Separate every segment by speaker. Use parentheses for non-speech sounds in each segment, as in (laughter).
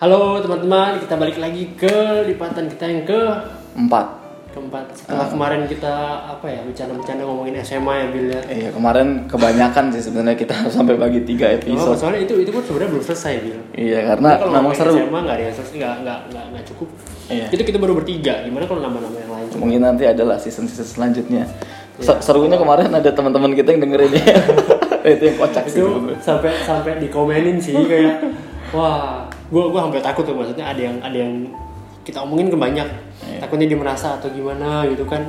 Speaker 1: Halo teman-teman, kita balik lagi ke lipatan kita yang ke
Speaker 2: Empat.
Speaker 1: keempat. Setelah
Speaker 2: Ah.
Speaker 1: kemarin kita apa ya bercanda-bercanda ngomongin SMA ya Bill ya.
Speaker 2: Iya kemarin kebanyakan sih sebenarnya kita (laughs) sampai bagi tiga
Speaker 1: Oh,
Speaker 2: episode.
Speaker 1: soalnya itu itu pun sebenarnya belum selesai Bill.
Speaker 2: Iya karena
Speaker 1: Kalau
Speaker 2: memang
Speaker 1: ngomongin
Speaker 2: seru.
Speaker 1: SMA nggak ada yang selesai, nggak nggak nggak nggak cukup.
Speaker 2: Iya.
Speaker 1: Itu kita baru bertiga. Gimana kalau nambah-nambah yang lain?
Speaker 2: Mungkin nanti adalah season-season selanjutnya.
Speaker 1: Iya.
Speaker 2: Se- Serunya kemarin ada teman-teman kita yang dengerin
Speaker 1: (laughs)
Speaker 2: ya. itu yang kocak sih.
Speaker 1: itu
Speaker 2: sebenarnya.
Speaker 1: sampai sampai dikomenin sih kayak wah gue gua hampir takut tuh maksudnya ada yang ada yang kita omongin kebanyak
Speaker 2: Iya.
Speaker 1: takutnya dia merasa atau gimana gitu kan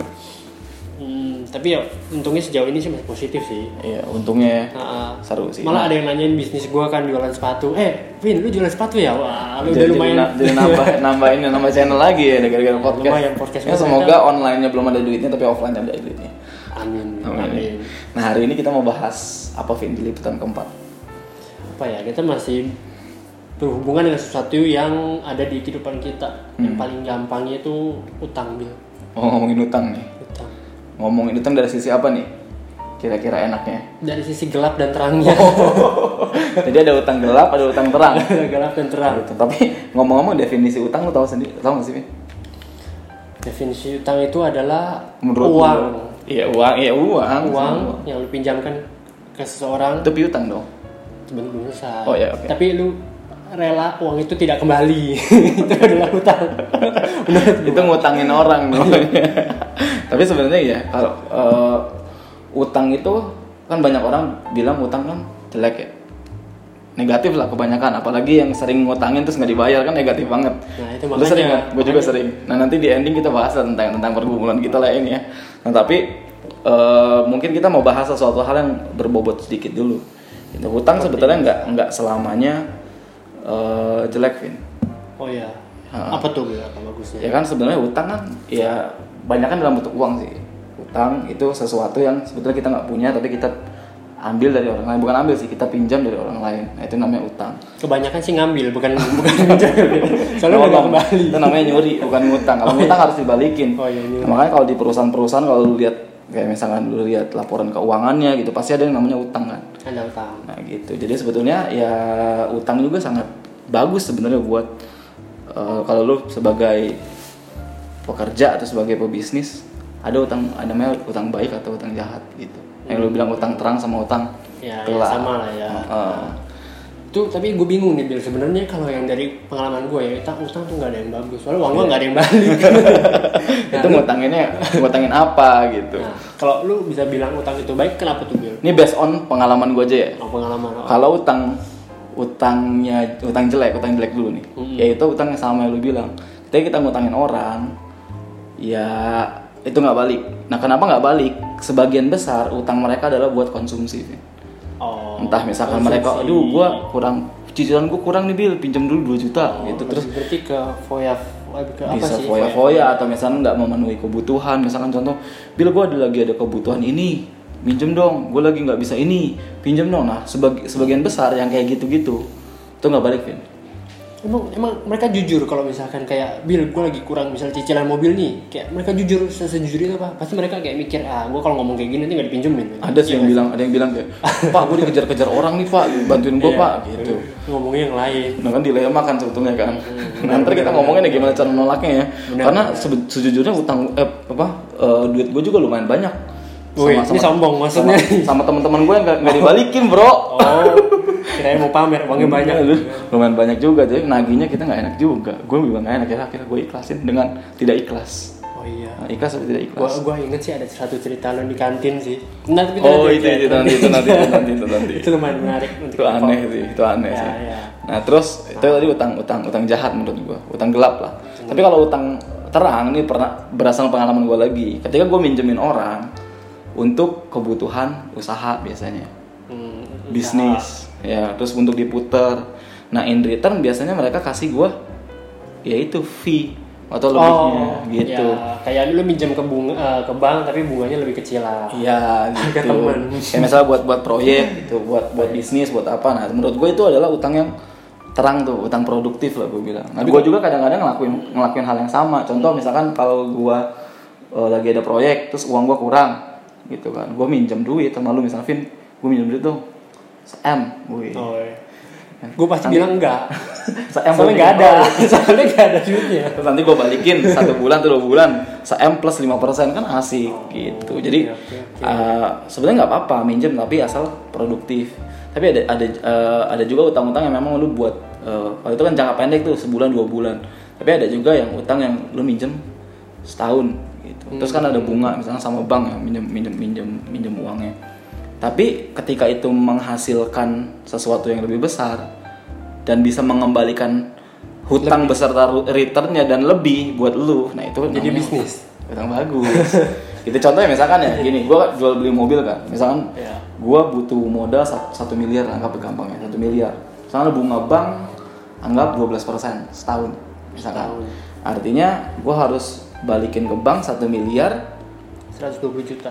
Speaker 1: Hmm, tapi ya untungnya sejauh ini sih masih positif sih
Speaker 2: Iya untungnya ya.
Speaker 1: Nah,
Speaker 2: seru sih.
Speaker 1: malah ada yang nanyain bisnis gue kan jualan sepatu eh Vin lu jualan sepatu ya wah lu udah
Speaker 2: jadi,
Speaker 1: lumayan
Speaker 2: na- jadi
Speaker 1: (laughs)
Speaker 2: nambah nambah ini nambah channel lagi ya gara-gara podcast.
Speaker 1: Lumayan podcast
Speaker 2: ya,
Speaker 1: kita.
Speaker 2: semoga online-nya belum ada duitnya tapi offline ada duitnya.
Speaker 1: amin,
Speaker 2: Amin.
Speaker 1: amin.
Speaker 2: Nah hari ini kita mau bahas apa Vin di liputan keempat.
Speaker 1: apa ya kita masih berhubungan dengan sesuatu yang ada di kehidupan kita
Speaker 2: Hmm.
Speaker 1: yang paling gampangnya itu utang bil
Speaker 2: Mau ngomongin utang nih.
Speaker 1: utang
Speaker 2: Ngomongin utang dari sisi apa nih? Kira-kira enaknya.
Speaker 1: dari sisi gelap dan terangnya
Speaker 2: Oh. Jadi ada utang gelap, ada utang terang.
Speaker 1: (laughs)
Speaker 2: Nah, gitu.
Speaker 1: gelap dan terang
Speaker 2: Tapi ngomong-ngomong definisi utang lo tahu sendiri, tahu nggak sih? Vin?
Speaker 1: definisi utang itu adalah
Speaker 2: Menurut lo-
Speaker 1: uang
Speaker 2: Iya uang, iya uang.
Speaker 1: uang yang lu pinjamkan ke seseorang
Speaker 2: Itu piutang dong.
Speaker 1: sebelum belum selesai
Speaker 2: Oh, iya, oke.
Speaker 1: tapi lu rela uang itu tidak kembali (laughs) itu adalah utang Menurut
Speaker 2: (laughs) itu ngutangin orang namanya. (laughs) Tapi sebenarnya ya kalau eh, utang itu kan banyak orang bilang utang kan jelek ya. Negatif lah kebanyakan, apalagi yang sering ngutangin terus nggak dibayar kan negatif banget.
Speaker 1: Nah, itu
Speaker 2: Lu
Speaker 1: makanya.
Speaker 2: sering Gue juga sering. Nah nanti di ending kita bahas lah tentang tentang pergumulan kita lah ini ya. Nah tapi eh, mungkin kita mau bahas sesuatu hal yang berbobot sedikit dulu. Itu utang sebetulnya nggak nggak selamanya eh, jelek, Vin
Speaker 1: oh iya apa tuh Bil? apa bagusnya
Speaker 2: ya kan sebenarnya utang kan ya banyak kan dalam bentuk uang sih utang itu sesuatu yang sebetulnya kita nggak punya tapi kita ambil dari orang lain bukan ambil sih kita pinjam dari orang lain nah, itu namanya utang
Speaker 1: kebanyakan sih ngambil bukan bukan (laughs) pinjam soalnya udah nggak
Speaker 2: Nolong.
Speaker 1: kembali
Speaker 2: itu namanya nyuri bukan ngutang kalau ngutang harus dibalikin
Speaker 1: Oh, iya, nyuri.
Speaker 2: Nah, makanya kalau di perusahaan-perusahaan kalau lu lihat kayak misalkan lu lihat laporan keuangannya gitu pasti ada yang namanya utang kan
Speaker 1: ada utang
Speaker 2: Nah gitu. Jadi sebetulnya ya utang juga sangat bagus sebenarnya buat eh, kalau lu sebagai pekerja atau sebagai pebisnis ada utang ada namanya utang baik atau utang jahat gitu. Yang lu bilang utang terang sama utang
Speaker 1: Hmm.
Speaker 2: Eh,
Speaker 1: ya, ya
Speaker 2: gelap.
Speaker 1: sama lah ya (laughs)
Speaker 2: Heeh.
Speaker 1: Tuh, tapi gue bingung nih, Bil. Sebenarnya kalau yang dari pengalaman gue ya, utang, utang tuh nggak ada yang bagus. Soalnya
Speaker 2: Iya.
Speaker 1: uang gue nggak ada yang balik. (laughs)
Speaker 2: itu ngutanginnya ngutangin apa gitu.
Speaker 1: nah, kalau lu bisa bilang utang itu baik, kenapa tuh, Bil?
Speaker 2: Ini based on pengalaman gue aja ya.
Speaker 1: Kalau pengalaman. oh.
Speaker 2: Kalau utang utangnya utang jelek, utang jelek dulu nih.
Speaker 1: Hmm.
Speaker 2: Yaitu utang yang sama yang lu bilang. Ketika kita ngutangin orang, ya itu nggak balik. Nah, kenapa nggak balik? Sebagian besar utang mereka adalah buat konsumsi. Vin.
Speaker 1: Oh.
Speaker 2: Entah misalkan mereka,
Speaker 1: konsumsi.
Speaker 2: aduh gua kurang cicilan gua kurang nih Bil, pinjam dulu 2 juta gitu terus
Speaker 1: berarti ke foya eh, ke apa
Speaker 2: bisa
Speaker 1: sih?
Speaker 2: foya-foya atau misalkan nggak memenuhi kebutuhan misalkan contoh bil gue ada lagi ada kebutuhan ini minjem dong gue lagi nggak bisa ini pinjem dong nah sebagi- sebagian besar yang kayak gitu-gitu itu nggak balik Vin.
Speaker 1: Emang emang mereka jujur kalau misalkan kayak Bil, gue lagi kurang misal cicilan mobil nih. Kayak mereka jujur se- sejujur itu apa? Pasti mereka kayak mikir, ah, gue kalau ngomong kayak gini nanti nggak dipinjemin.
Speaker 2: ada
Speaker 1: Iya.
Speaker 2: sih yang bilang ada yang bilang kayak pak gue dikejar-kejar orang nih pak bantuin
Speaker 1: Iya,
Speaker 2: gue pak gitu
Speaker 1: Ngomongnya yang lain.
Speaker 2: nah kan dilema kan sebetulnya kan
Speaker 1: Hmm.
Speaker 2: nanti kita ngomongin ya gimana cara menolaknya ya karena sebe- sejujurnya utang eh, apa eh, duit gue juga lumayan banyak
Speaker 1: Wih, ini sombong maksudnya.
Speaker 2: sama, sama teman-teman gue yang nggak- nggak dibalikin bro
Speaker 1: (laughs) Oh, kirain mau pamer, uangnya banyak.
Speaker 2: Iya, lu- lumayan banyak juga jadi nagihnya kita nggak enak juga gue bilang nggak enak ya akhirnya gue ikhlasin dengan tidak ikhlas
Speaker 1: Oh iya.
Speaker 2: Nah, ikhlas atau tidak
Speaker 1: Gua,
Speaker 2: ikhlas
Speaker 1: gua inget sih ada satu cerita lo di kantin sih. Nah, tapi
Speaker 2: oh
Speaker 1: nanti
Speaker 2: itu
Speaker 1: aja.
Speaker 2: itu nanti itu nanti itu nanti itu nanti
Speaker 1: (laughs) Itu lumayan menarik untuk
Speaker 2: itu aneh sih itu aneh
Speaker 1: Ya,
Speaker 2: sih
Speaker 1: ya.
Speaker 2: nah terus itu tadi utang utang utang jahat menurut gue utang gelap lah
Speaker 1: Hmm.
Speaker 2: tapi kalau utang terang ini pernah berasal pengalaman gue lagi ketika gue minjemin orang untuk kebutuhan usaha biasanya
Speaker 1: Hmm,
Speaker 2: bisnis ya terus untuk diputer nah in return biasanya mereka kasih gua yaitu fee atau lebihnya
Speaker 1: Oh,
Speaker 2: gitu
Speaker 1: ya, kayak lu minjam ke bunga, eh, ke bank tapi bunganya lebih kecil lah.
Speaker 2: Iya
Speaker 1: (laughs) Kayak
Speaker 2: gitu.
Speaker 1: temen.
Speaker 2: Kayak misalnya buat buat proyek gitu, buat buat bisnis, buat apa. Nah, menurut gue itu adalah utang yang terang tuh, utang produktif lah gue bilang. Nah, gue juga kadang-kadang ngelakuin ngelakuin hal yang sama. Contoh misalkan kalau gue eh, lagi ada proyek, terus uang gue kurang, gitu kan. Gue minjem duit sama lu misalnya, Vin, gue minjem duit dong, M, gue.
Speaker 1: Oh, iya. gue pasti
Speaker 2: Nanti-
Speaker 1: bilang (laughs) enggak
Speaker 2: Saya
Speaker 1: soalnya nggak ada (laughs) soalnya nggak ada duitnya
Speaker 2: Iya, Terus nanti gue balikin satu bulan atau dua bulan sem plus 5% kan asik gitu jadi
Speaker 1: oke, oke.
Speaker 2: eh, sebenarnya nggak apa-apa minjem tapi ya asal produktif tapi ada ada eh, ada juga utang-utang yang memang lu buat eh, kalau itu kan jangka pendek tuh sebulan dua bulan tapi ada juga yang utang yang lu minjem setahun gitu
Speaker 1: Hmm.
Speaker 2: terus kan ada bunga misalnya sama bank ya minjem minjem minjem minjem uangnya tapi ketika itu menghasilkan sesuatu yang lebih besar dan bisa mengembalikan hutang beserta ru- returnnya dan lebih buat lu nah itu
Speaker 1: jadi
Speaker 2: namanya
Speaker 1: bisnis
Speaker 2: utang bagus itu contohnya misalkan ya gini gue jual beli mobil kan misalkan
Speaker 1: Iya.
Speaker 2: gue butuh modal sat- satu miliar anggap gampang ya satu miliar misalkan bunga bank anggap 12% setahun misalkan
Speaker 1: Setahun.
Speaker 2: artinya gue harus balikin ke bank satu miliar
Speaker 1: 120 juta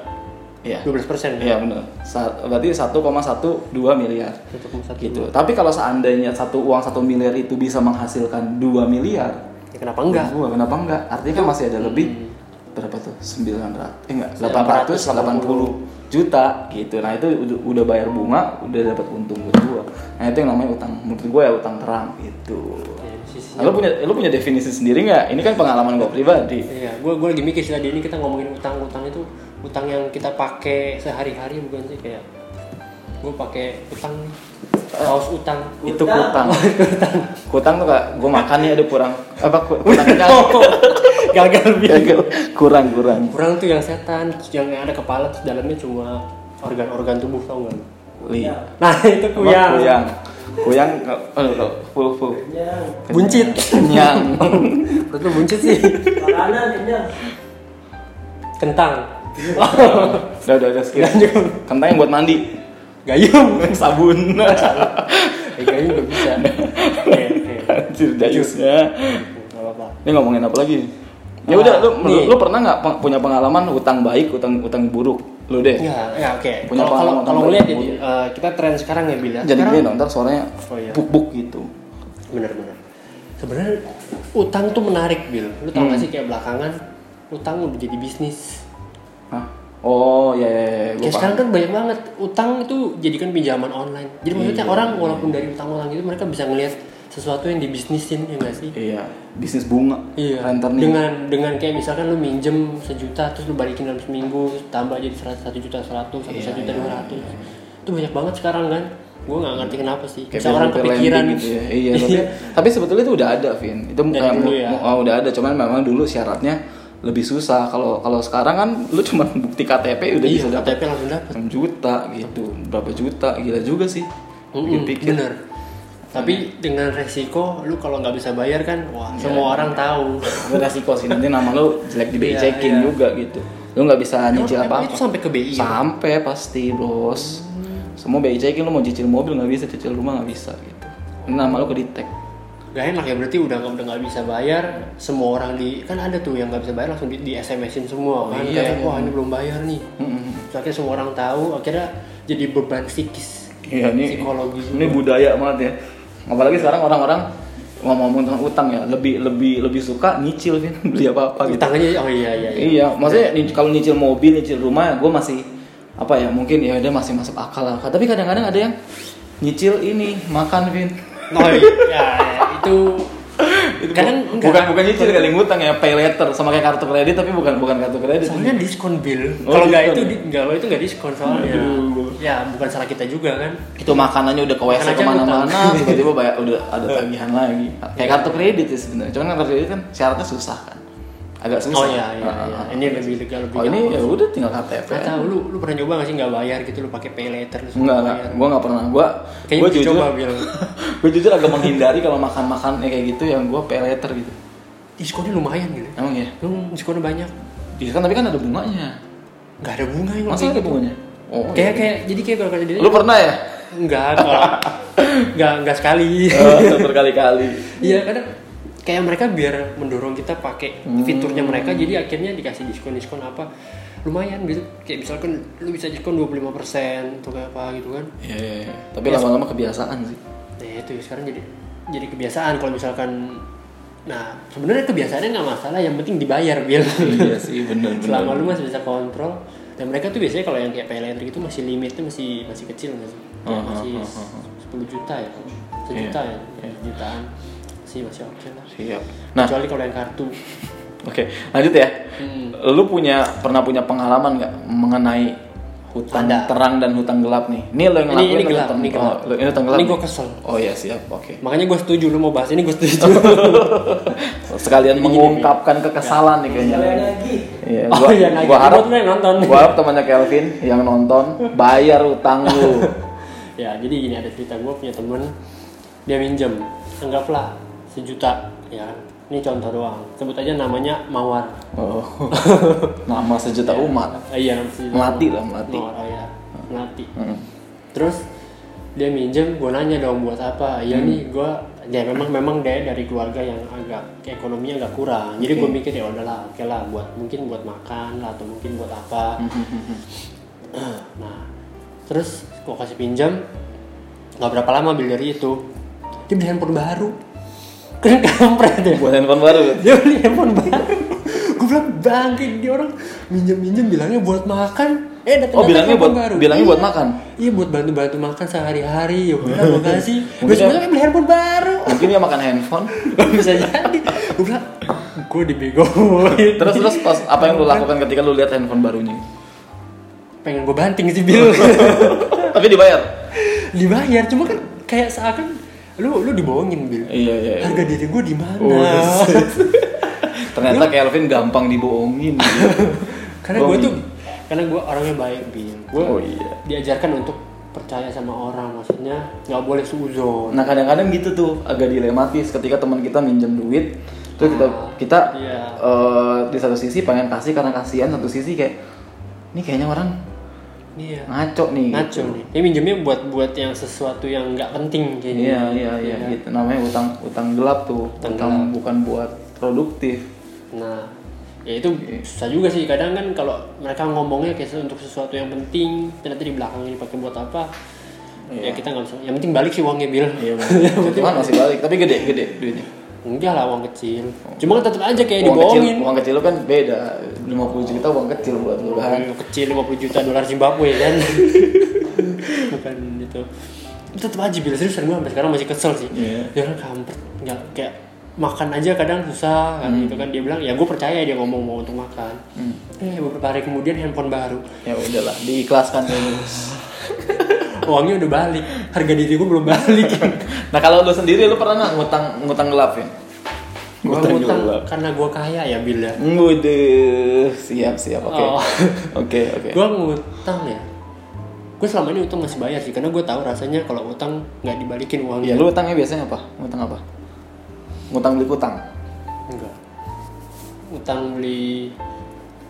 Speaker 2: ya
Speaker 1: 12 persen
Speaker 2: Iya benar. Sa- Berarti 1,12 miliar.
Speaker 1: 1,1.
Speaker 2: Gitu. Tapi kalau seandainya satu uang satu miliar itu bisa menghasilkan 2 miliar,
Speaker 1: ya kenapa enggak Hmm.
Speaker 2: Gua kenapa enggak? Artinya kan masih ada lebih berapa tuh? 900. Eh enggak, 880 juta gitu. Nah, itu udah, udah bayar bunga, udah dapat untung buat gua. Nah, itu yang namanya utang menurut gua ya utang terang gitu.
Speaker 1: Ya, di sisi-
Speaker 2: Nah, lu punya lu punya definisi sendiri nggak? Ini kan pengalaman gua pribadi.
Speaker 1: Iya, gue gue lagi mikir sih tadi ini kita ngomongin utang-utang itu utang yang kita pakai sehari-hari bukan sih kayak gue pakai utang nih, kaos (laughs) utang.
Speaker 2: itu kutang kutang tuh kak gue makan nih ada kurang apa
Speaker 1: (laughs)
Speaker 2: ku- kurang
Speaker 1: Oh, Gagal (laughs) biar.
Speaker 2: gagal kurang kurang
Speaker 1: Kurang tuh yang setan, yang ada kepala terus dalamnya cuma organ-organ tubuh tau nggak? lu?
Speaker 2: li
Speaker 1: Nah (laughs) itu
Speaker 2: Apa?
Speaker 1: kuyang.
Speaker 2: kuyang kuyang nggak- eh, nggak, full full
Speaker 1: Iya. Buncit. (laughs)
Speaker 2: kenyang
Speaker 1: Menurut lu buncit sih.
Speaker 3: Makanan kenyang.
Speaker 1: Kentang.
Speaker 2: (laughs) udah udah udah skip kentang yang buat mandi
Speaker 1: Gayung.
Speaker 2: (laughs) sabun
Speaker 1: Eh, gayung gak bisa. (laughs) Oke oke.
Speaker 2: anjir dayusnya
Speaker 1: Gak apa-apa.
Speaker 2: Ya. ini ngomongin apa lagi nih? ya
Speaker 1: Ah,
Speaker 2: udah lu, lu
Speaker 1: nih.
Speaker 2: lu pernah nggak peng- punya pengalaman utang baik utang utang buruk lu deh
Speaker 1: Ya, ya oke. Kalau
Speaker 2: Punya
Speaker 1: kalau
Speaker 2: pengalaman
Speaker 1: kalau
Speaker 2: tambah
Speaker 1: ngeliat ya,
Speaker 2: yang
Speaker 1: Di, eh, kita tren sekarang ya Bil ya.
Speaker 2: jadi
Speaker 1: Sekarang-
Speaker 2: gini dong ntar suaranya
Speaker 1: Oh, iya.
Speaker 2: buk buk gitu
Speaker 1: Bener-bener. Sebenarnya utang tuh menarik Bil. Lu tau
Speaker 2: Hmm.
Speaker 1: gak sih kayak belakangan utang udah jadi bisnis.
Speaker 2: Hah? oh ya ya, ya gua
Speaker 1: Kayak
Speaker 2: paham.
Speaker 1: sekarang kan banyak banget utang itu jadikan pinjaman online. Jadi maksudnya
Speaker 2: Iya.
Speaker 1: orang walaupun dari utang-utang itu mereka bisa ngelihat sesuatu yang dibisnisin ya gak sih?
Speaker 2: Iya, bisnis bunga. rentenir.
Speaker 1: Iya. Dengan dengan kayak misalkan lu minjem sejuta terus lu balikin dalam seminggu tambah jadi seratus satu juta seratus sampai
Speaker 2: Iya,
Speaker 1: satu juta
Speaker 2: iya,
Speaker 1: dua ratus. Itu banyak banget sekarang kan. Gue nggak ngerti kenapa sih.
Speaker 2: Kayak
Speaker 1: Bisa orang
Speaker 2: Peter Lending
Speaker 1: kepikiran
Speaker 2: gitu ya.
Speaker 1: (laughs)
Speaker 2: Iya, tapi, (laughs) tapi sebetulnya itu udah ada, Vin. Itu
Speaker 1: Dari
Speaker 2: kayak
Speaker 1: dulu ya.
Speaker 2: oh, udah ada, cuman memang dulu syaratnya lebih susah. Kalau kalau sekarang kan lu cuma (laughs) bukti KTP udah
Speaker 1: Iya,
Speaker 2: bisa dapat
Speaker 1: KTP langsung dapet.
Speaker 2: 6 juta gitu. Berapa juta? Gila juga sih.
Speaker 1: Mm-mm,
Speaker 2: (laughs) Pikir-pikir. Iya.
Speaker 1: bener. Tapi dengan resiko lu kalau nggak bisa bayar kan, wah
Speaker 2: Iya.
Speaker 1: semua orang tahu.
Speaker 2: Itu resiko sih nanti nama lu jelek di BI
Speaker 1: Iya, iya.
Speaker 2: checking juga gitu. Lu nggak bisa
Speaker 1: Emang-
Speaker 2: nyicil
Speaker 1: emang
Speaker 2: apa-apa.
Speaker 1: itu sampai ke BI. ya?
Speaker 2: Sampai pasti, Bros. Semua BI checking lu mau cicil mobil nggak bisa, cicil rumah nggak bisa gitu. Ini nama lu ke detect.
Speaker 1: Gak enak ya berarti udah udah nggak bisa bayar, semua orang di kan ada tuh yang nggak bisa bayar langsung di, di SMS-in semua kan.
Speaker 2: iya.
Speaker 1: Kayak, wah ini belum bayar nih. Terus akhirnya semua orang tahu, akhirnya jadi beban psikis.
Speaker 2: Iya ini
Speaker 1: psikologi juga.
Speaker 2: ini budaya banget ya. Apalagi sekarang orang-orang ngomong-ngomong tentang utang ya, lebih lebih lebih suka nyicil Vin. (laughs) beli apa-apa gitu.
Speaker 1: Utang aja, oh iya iya. iya.
Speaker 2: Iya, maksudnya ni- kalau nyicil mobil, nyicil rumah, gue masih apa ya mungkin ya udah masih masuk akal lah. Tapi kadang-kadang ada yang nyicil ini makan Vin.
Speaker 1: Oh iya, ya, itu
Speaker 2: (laughs) Itu bu-
Speaker 1: kadang enggak.
Speaker 2: bukan bukan nyicil kali ngutang ya pay later sama kayak kartu kredit tapi bukan bukan kartu kredit.
Speaker 1: Soalnya diskon bill.
Speaker 2: Oh,
Speaker 1: kalau nggak itu
Speaker 2: diskon.
Speaker 1: di- nggak itu nggak diskon soalnya.
Speaker 2: Aduh.
Speaker 1: Ya bukan salah kita juga kan.
Speaker 2: itu makanannya udah ke WC
Speaker 1: Makanannya
Speaker 2: kemana-mana
Speaker 1: utang.
Speaker 2: tiba-tiba bayar udah
Speaker 1: (laughs)
Speaker 2: ada tagihan lagi kayak kartu kredit ya sebenarnya cuman kartu kredit kan syaratnya susah kan agak susah
Speaker 1: Oh iya iya.
Speaker 2: Heeh,
Speaker 1: iya.
Speaker 2: heeh.
Speaker 1: Ini lebih legal lebih.
Speaker 2: ya? oh ini ya udah tinggal KTP
Speaker 1: Gak tau lu lu pernah nyoba gak sih nggak bayar gitu lu pakai pay later terus
Speaker 2: enggak
Speaker 1: nggak
Speaker 2: enggak
Speaker 1: bayar.
Speaker 2: gue nggak pernah gue
Speaker 1: Iya. Kayaknya
Speaker 2: gue
Speaker 1: mesti
Speaker 2: jujur (laughs)
Speaker 1: coba bilang
Speaker 2: gue jujur agak menghindari kalau makan-makan ya kayak gitu yang gue pay later gitu
Speaker 1: diskonnya lumayan gitu.
Speaker 2: emang ya
Speaker 1: Lu diskonnya banyak.
Speaker 2: Iya kan tapi kan ada bunganya
Speaker 1: Gak ada bunga yang
Speaker 2: masa ada
Speaker 1: kayak gitu.
Speaker 2: bunganya oh iya.
Speaker 1: Kayak kayak jadi kayak kalau kata dia.
Speaker 2: lu pernah
Speaker 1: (laughs)
Speaker 2: ya
Speaker 1: Enggak kalau enggak enggak sekali. (laughs)
Speaker 2: Eh, berkali-kali
Speaker 1: Iya kadang kayak mereka biar mendorong kita pakai
Speaker 2: Hmm.
Speaker 1: fiturnya mereka jadi akhirnya dikasih diskon-diskon apa lumayan gitu kayak misalkan lu bisa diskon 25% atau kayak apa gitu kan
Speaker 2: Iya, iya, iya. tapi lama-lama kebiasaan sih
Speaker 1: Nah itu sekarang jadi jadi kebiasaan kalau misalkan nah sebenarnya kebiasaannya nggak masalah yang penting dibayar bil
Speaker 2: iya sih bener-bener
Speaker 1: selama lu masih bisa kontrol dan mereka tuh biasanya kalau yang kayak pay later gitu masih limitnya masih masih kecil nggak sih ya
Speaker 2: Hmm,
Speaker 1: masih
Speaker 2: hmm, hmm, hmm. Iya,
Speaker 1: 10 juta ya sejuta ya jutaan sih masih oke lah
Speaker 2: Siap. Nah,
Speaker 1: kecuali kalau yang kartu
Speaker 2: Oke, lanjut ya.
Speaker 1: Hmm.
Speaker 2: Lu punya pernah punya pengalaman nggak mengenai hutang
Speaker 1: Ada.
Speaker 2: terang dan hutang gelap nih? Ini lo
Speaker 1: Ini-
Speaker 2: yang ngelakuin
Speaker 1: ini
Speaker 2: lo
Speaker 1: gelap,
Speaker 2: hutang-
Speaker 1: ini gelap.
Speaker 2: Oh, lo- ini hutang gelap.
Speaker 1: Ini
Speaker 2: nih?
Speaker 1: gua kesel.
Speaker 2: Oh iya, siap. Oke.
Speaker 1: makanya gue setuju lu mau bahas ini gue
Speaker 2: (laughs)
Speaker 1: setuju Jadi gini,
Speaker 2: Sekalian mengungkapkan kekesalan nih kayaknya. Iya,
Speaker 1: Oh,
Speaker 2: gua,
Speaker 1: iya, nagih.
Speaker 2: gua harap
Speaker 1: Kebetulan yang nonton.
Speaker 2: Gua harap temannya Kelvin yang nonton bayar hutang
Speaker 1: (laughs)
Speaker 2: lu.
Speaker 1: ya jadi gini ada cerita gue punya temen dia minjem anggaplah sejuta ya kan. ini contoh doang sebut aja namanya mawar
Speaker 2: Oh. Nama sejuta umat.
Speaker 1: Eh, iya namanya sejuta.
Speaker 2: Melati lah, Melati.
Speaker 1: mawar oh, iya. melati
Speaker 2: Hmm.
Speaker 1: terus dia minjem gue nanya dong buat apa ya nih gue ya memang memang dia dari keluarga yang agak ekonominya agak kurang jadi gue
Speaker 2: Oke.
Speaker 1: mikir ya udahlah oke lah buat mungkin buat makan lah atau mungkin buat apa nah terus gue kasih pinjam nggak berapa lama beli dari itu dia beli handphone baru keren kampret ya
Speaker 2: Buat handphone baru.
Speaker 1: dia beli handphone baru gue bilang bangke dia orang minjem minjem bilangnya buat makan eh datang
Speaker 2: Oh, bilangnya buat bilangnya buat makan.
Speaker 1: Iya buat bantu-bantu makan sehari-hari ya
Speaker 2: (laughs)
Speaker 1: gue bilang gue kasih
Speaker 2: Mungkin
Speaker 1: Besok
Speaker 2: ya.
Speaker 1: besoknya beli handphone baru (laughs)
Speaker 2: Mungkin dia makan handphone.
Speaker 1: Bisa jadi Gue bilang gue dibegoin
Speaker 2: Terus terus pas apa yang lu lakukan ketika lu lihat handphone barunya?
Speaker 1: Pengen gue banting sih
Speaker 2: (laughs)
Speaker 1: Bill
Speaker 2: Tapi dibayar.
Speaker 1: Dibayar cuma kan kayak seakan Lu lu dibohongin Bill
Speaker 2: Iya iya. iya.
Speaker 1: Harga diri gue di mana?
Speaker 2: Oh, shit. Ternyata Kelvin gampang dibohongin.
Speaker 1: (laughs) karena gue
Speaker 2: Bohongin.
Speaker 1: tuh Karena gue orangnya baik Bill Gue
Speaker 2: Oh, iya.
Speaker 1: diajarkan untuk percaya sama orang Maksudnya nggak boleh seuzon
Speaker 2: Nah kadang-kadang gitu tuh agak dilematis ketika teman kita minjem duit, terus kita kita
Speaker 1: Iya.
Speaker 2: eh, di satu sisi pengen kasih karena kasihan, satu sisi kayak ini kayaknya orang
Speaker 1: Iya
Speaker 2: ngaco nih.
Speaker 1: Ngaco nih Dia minjemnya buat buat yang sesuatu yang nggak penting kayaknya
Speaker 2: Iya iya iya gitu namanya utang utang gelap tuh.
Speaker 1: Utang
Speaker 2: Utang bukan buat produktif.
Speaker 1: Nah, ya itu susah juga sih. Kadang kan kalau mereka ngomongnya kayak untuk sesuatu yang penting, ternyata di belakangnya dipakai buat apa?
Speaker 2: Iya.
Speaker 1: Ya kita nggak bisa. Yang penting balik sih uangnya bil.
Speaker 2: Cuman masih balik, tapi gede-gede duitnya.
Speaker 1: Enggak lah uang kecil. Cuma kan tetap aja kayak
Speaker 2: uang kecil,
Speaker 1: dibohongin.
Speaker 2: uang kecil lu kan beda. 50 juta uang kecil buat lu kan.
Speaker 1: Uang kecil 50 juta dolar Zimbabwe kan. Bukan itu. Itu tetap aja bil seriusan gue sampai sekarang masih kesel sih.
Speaker 2: Iya.
Speaker 1: Ya orang kampret nggak kayak makan aja kadang susah kan gitu kan dia bilang ya gue percaya dia ngomong mau untuk makan eh beberapa hari kemudian handphone baru (laughs)
Speaker 2: Ya udahlah, diikhlaskan dulu.
Speaker 1: uangnya udah balik harga diri gue belum balik
Speaker 2: nah, kalau lu sendiri lu pernah nggak ngutang ngutang gelap ya?
Speaker 1: gue ngutang karena gue kaya ya bila
Speaker 2: Waduh, siap siap. Oke.
Speaker 1: Oh.
Speaker 2: (laughs) Oke, oke.
Speaker 1: gue ngutang ya gue selama ini utang masih bayar sih karena gue tahu rasanya kalau utang nggak dibalikin
Speaker 2: Ya
Speaker 1: uangnya
Speaker 2: lu utangnya biasanya apa? Ngutang apa? Ngutang beli utang.
Speaker 1: enggak utang beli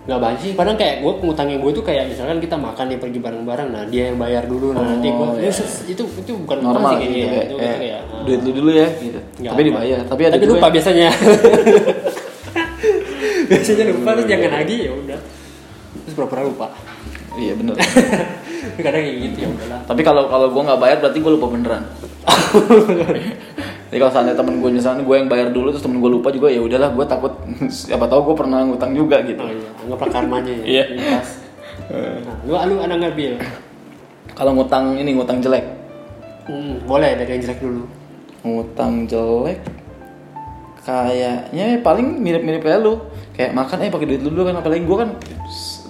Speaker 1: nggak banyak sih padahal kayak gue ngutangnya gue tuh kayak misalkan kita makan nih pergi bareng-bareng nah dia yang bayar dulu nah
Speaker 2: Oh,
Speaker 1: nanti gue
Speaker 2: iya.
Speaker 1: itu, itu itu bukan utang
Speaker 2: Normal
Speaker 1: sih
Speaker 2: gitu,
Speaker 1: kayaknya ya.
Speaker 2: kayak,
Speaker 1: itu,
Speaker 2: kayak,
Speaker 1: itu kayak ah,
Speaker 2: duit lu dulu ya gitu.
Speaker 1: nggak
Speaker 2: tapi
Speaker 1: apa.
Speaker 2: dibayar, tapi ada juga
Speaker 1: lupa
Speaker 2: yang- (laughs)
Speaker 1: biasanya biasanya lupa terus jangan lagi ya udah terus pura-pura lupa (laughs)
Speaker 2: Iya bener
Speaker 1: kadang kayak gitu ya udahlah
Speaker 2: tapi kalau kalau gua nggak bayar berarti gua lupa
Speaker 1: (laughs)
Speaker 2: beneran. Jadi kalau seandainya temen gue misalnya gue yang bayar dulu terus temen gue lupa juga ya udahlah gue takut (laughs) siapa tahu gue pernah ngutang juga gitu.
Speaker 1: oh, iya. anggaplah karmanya ya
Speaker 2: Iya. Eh.
Speaker 1: lintas. nah, lu lu anak nggak bil
Speaker 2: Kalau ngutang ini ngutang jelek,
Speaker 1: hmm, boleh dari yang jelek dulu
Speaker 2: ngutang jelek kayaknya paling mirip-mirip kayak lu kayak makan eh pakai duit lu dulu kan apalagi gue kan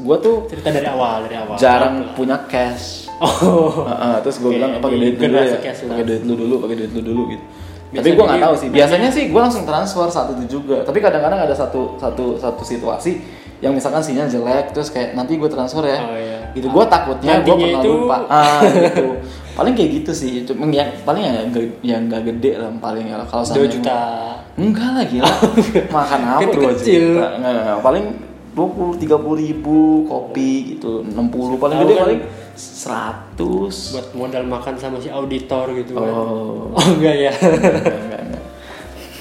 Speaker 2: gue tuh
Speaker 1: cerita dari awal dari awal
Speaker 2: jarang punya cash.
Speaker 1: (laughs) oh
Speaker 2: Heeh, terus gue
Speaker 1: Oke,
Speaker 2: bilang pakai
Speaker 1: di
Speaker 2: duit lu dulu
Speaker 1: generasi
Speaker 2: ya
Speaker 1: cash lah.
Speaker 2: pakai duit lu dulu pakai duit lu dulu gitu tapi
Speaker 1: Biasanya
Speaker 2: gue nggak
Speaker 1: dia-
Speaker 2: tahu sih biasanya sih gue langsung transfer satu itu juga tapi kadang-kadang ada satu satu satu situasi yang misalkan sinyal jelek terus kayak nanti gue transfer ya
Speaker 1: Oh, iya.
Speaker 2: gitu gue takutnya gue
Speaker 1: Nantinya
Speaker 2: pernah
Speaker 1: itu-
Speaker 2: lupa ah gitu (laughs) paling kayak gitu sih cuma yang paling yang nggak- yang nggak gede lah paling ya kalau
Speaker 1: dua
Speaker 2: seandainya-
Speaker 1: juta
Speaker 2: enggak lah
Speaker 1: (laughs)
Speaker 2: gila makan apa
Speaker 1: Itu
Speaker 2: dua
Speaker 1: kecil.
Speaker 2: juta nggak, nggak, nggak. paling dua puluh tiga puluh ribu kopi gitu enam puluh paling
Speaker 1: Tahu
Speaker 2: gede
Speaker 1: kan?
Speaker 2: paling seratus
Speaker 1: buat modal makan sama si auditor gitu kan
Speaker 2: Oh,
Speaker 1: oh enggak (laughs) ya
Speaker 2: enggak, enggak, enggak.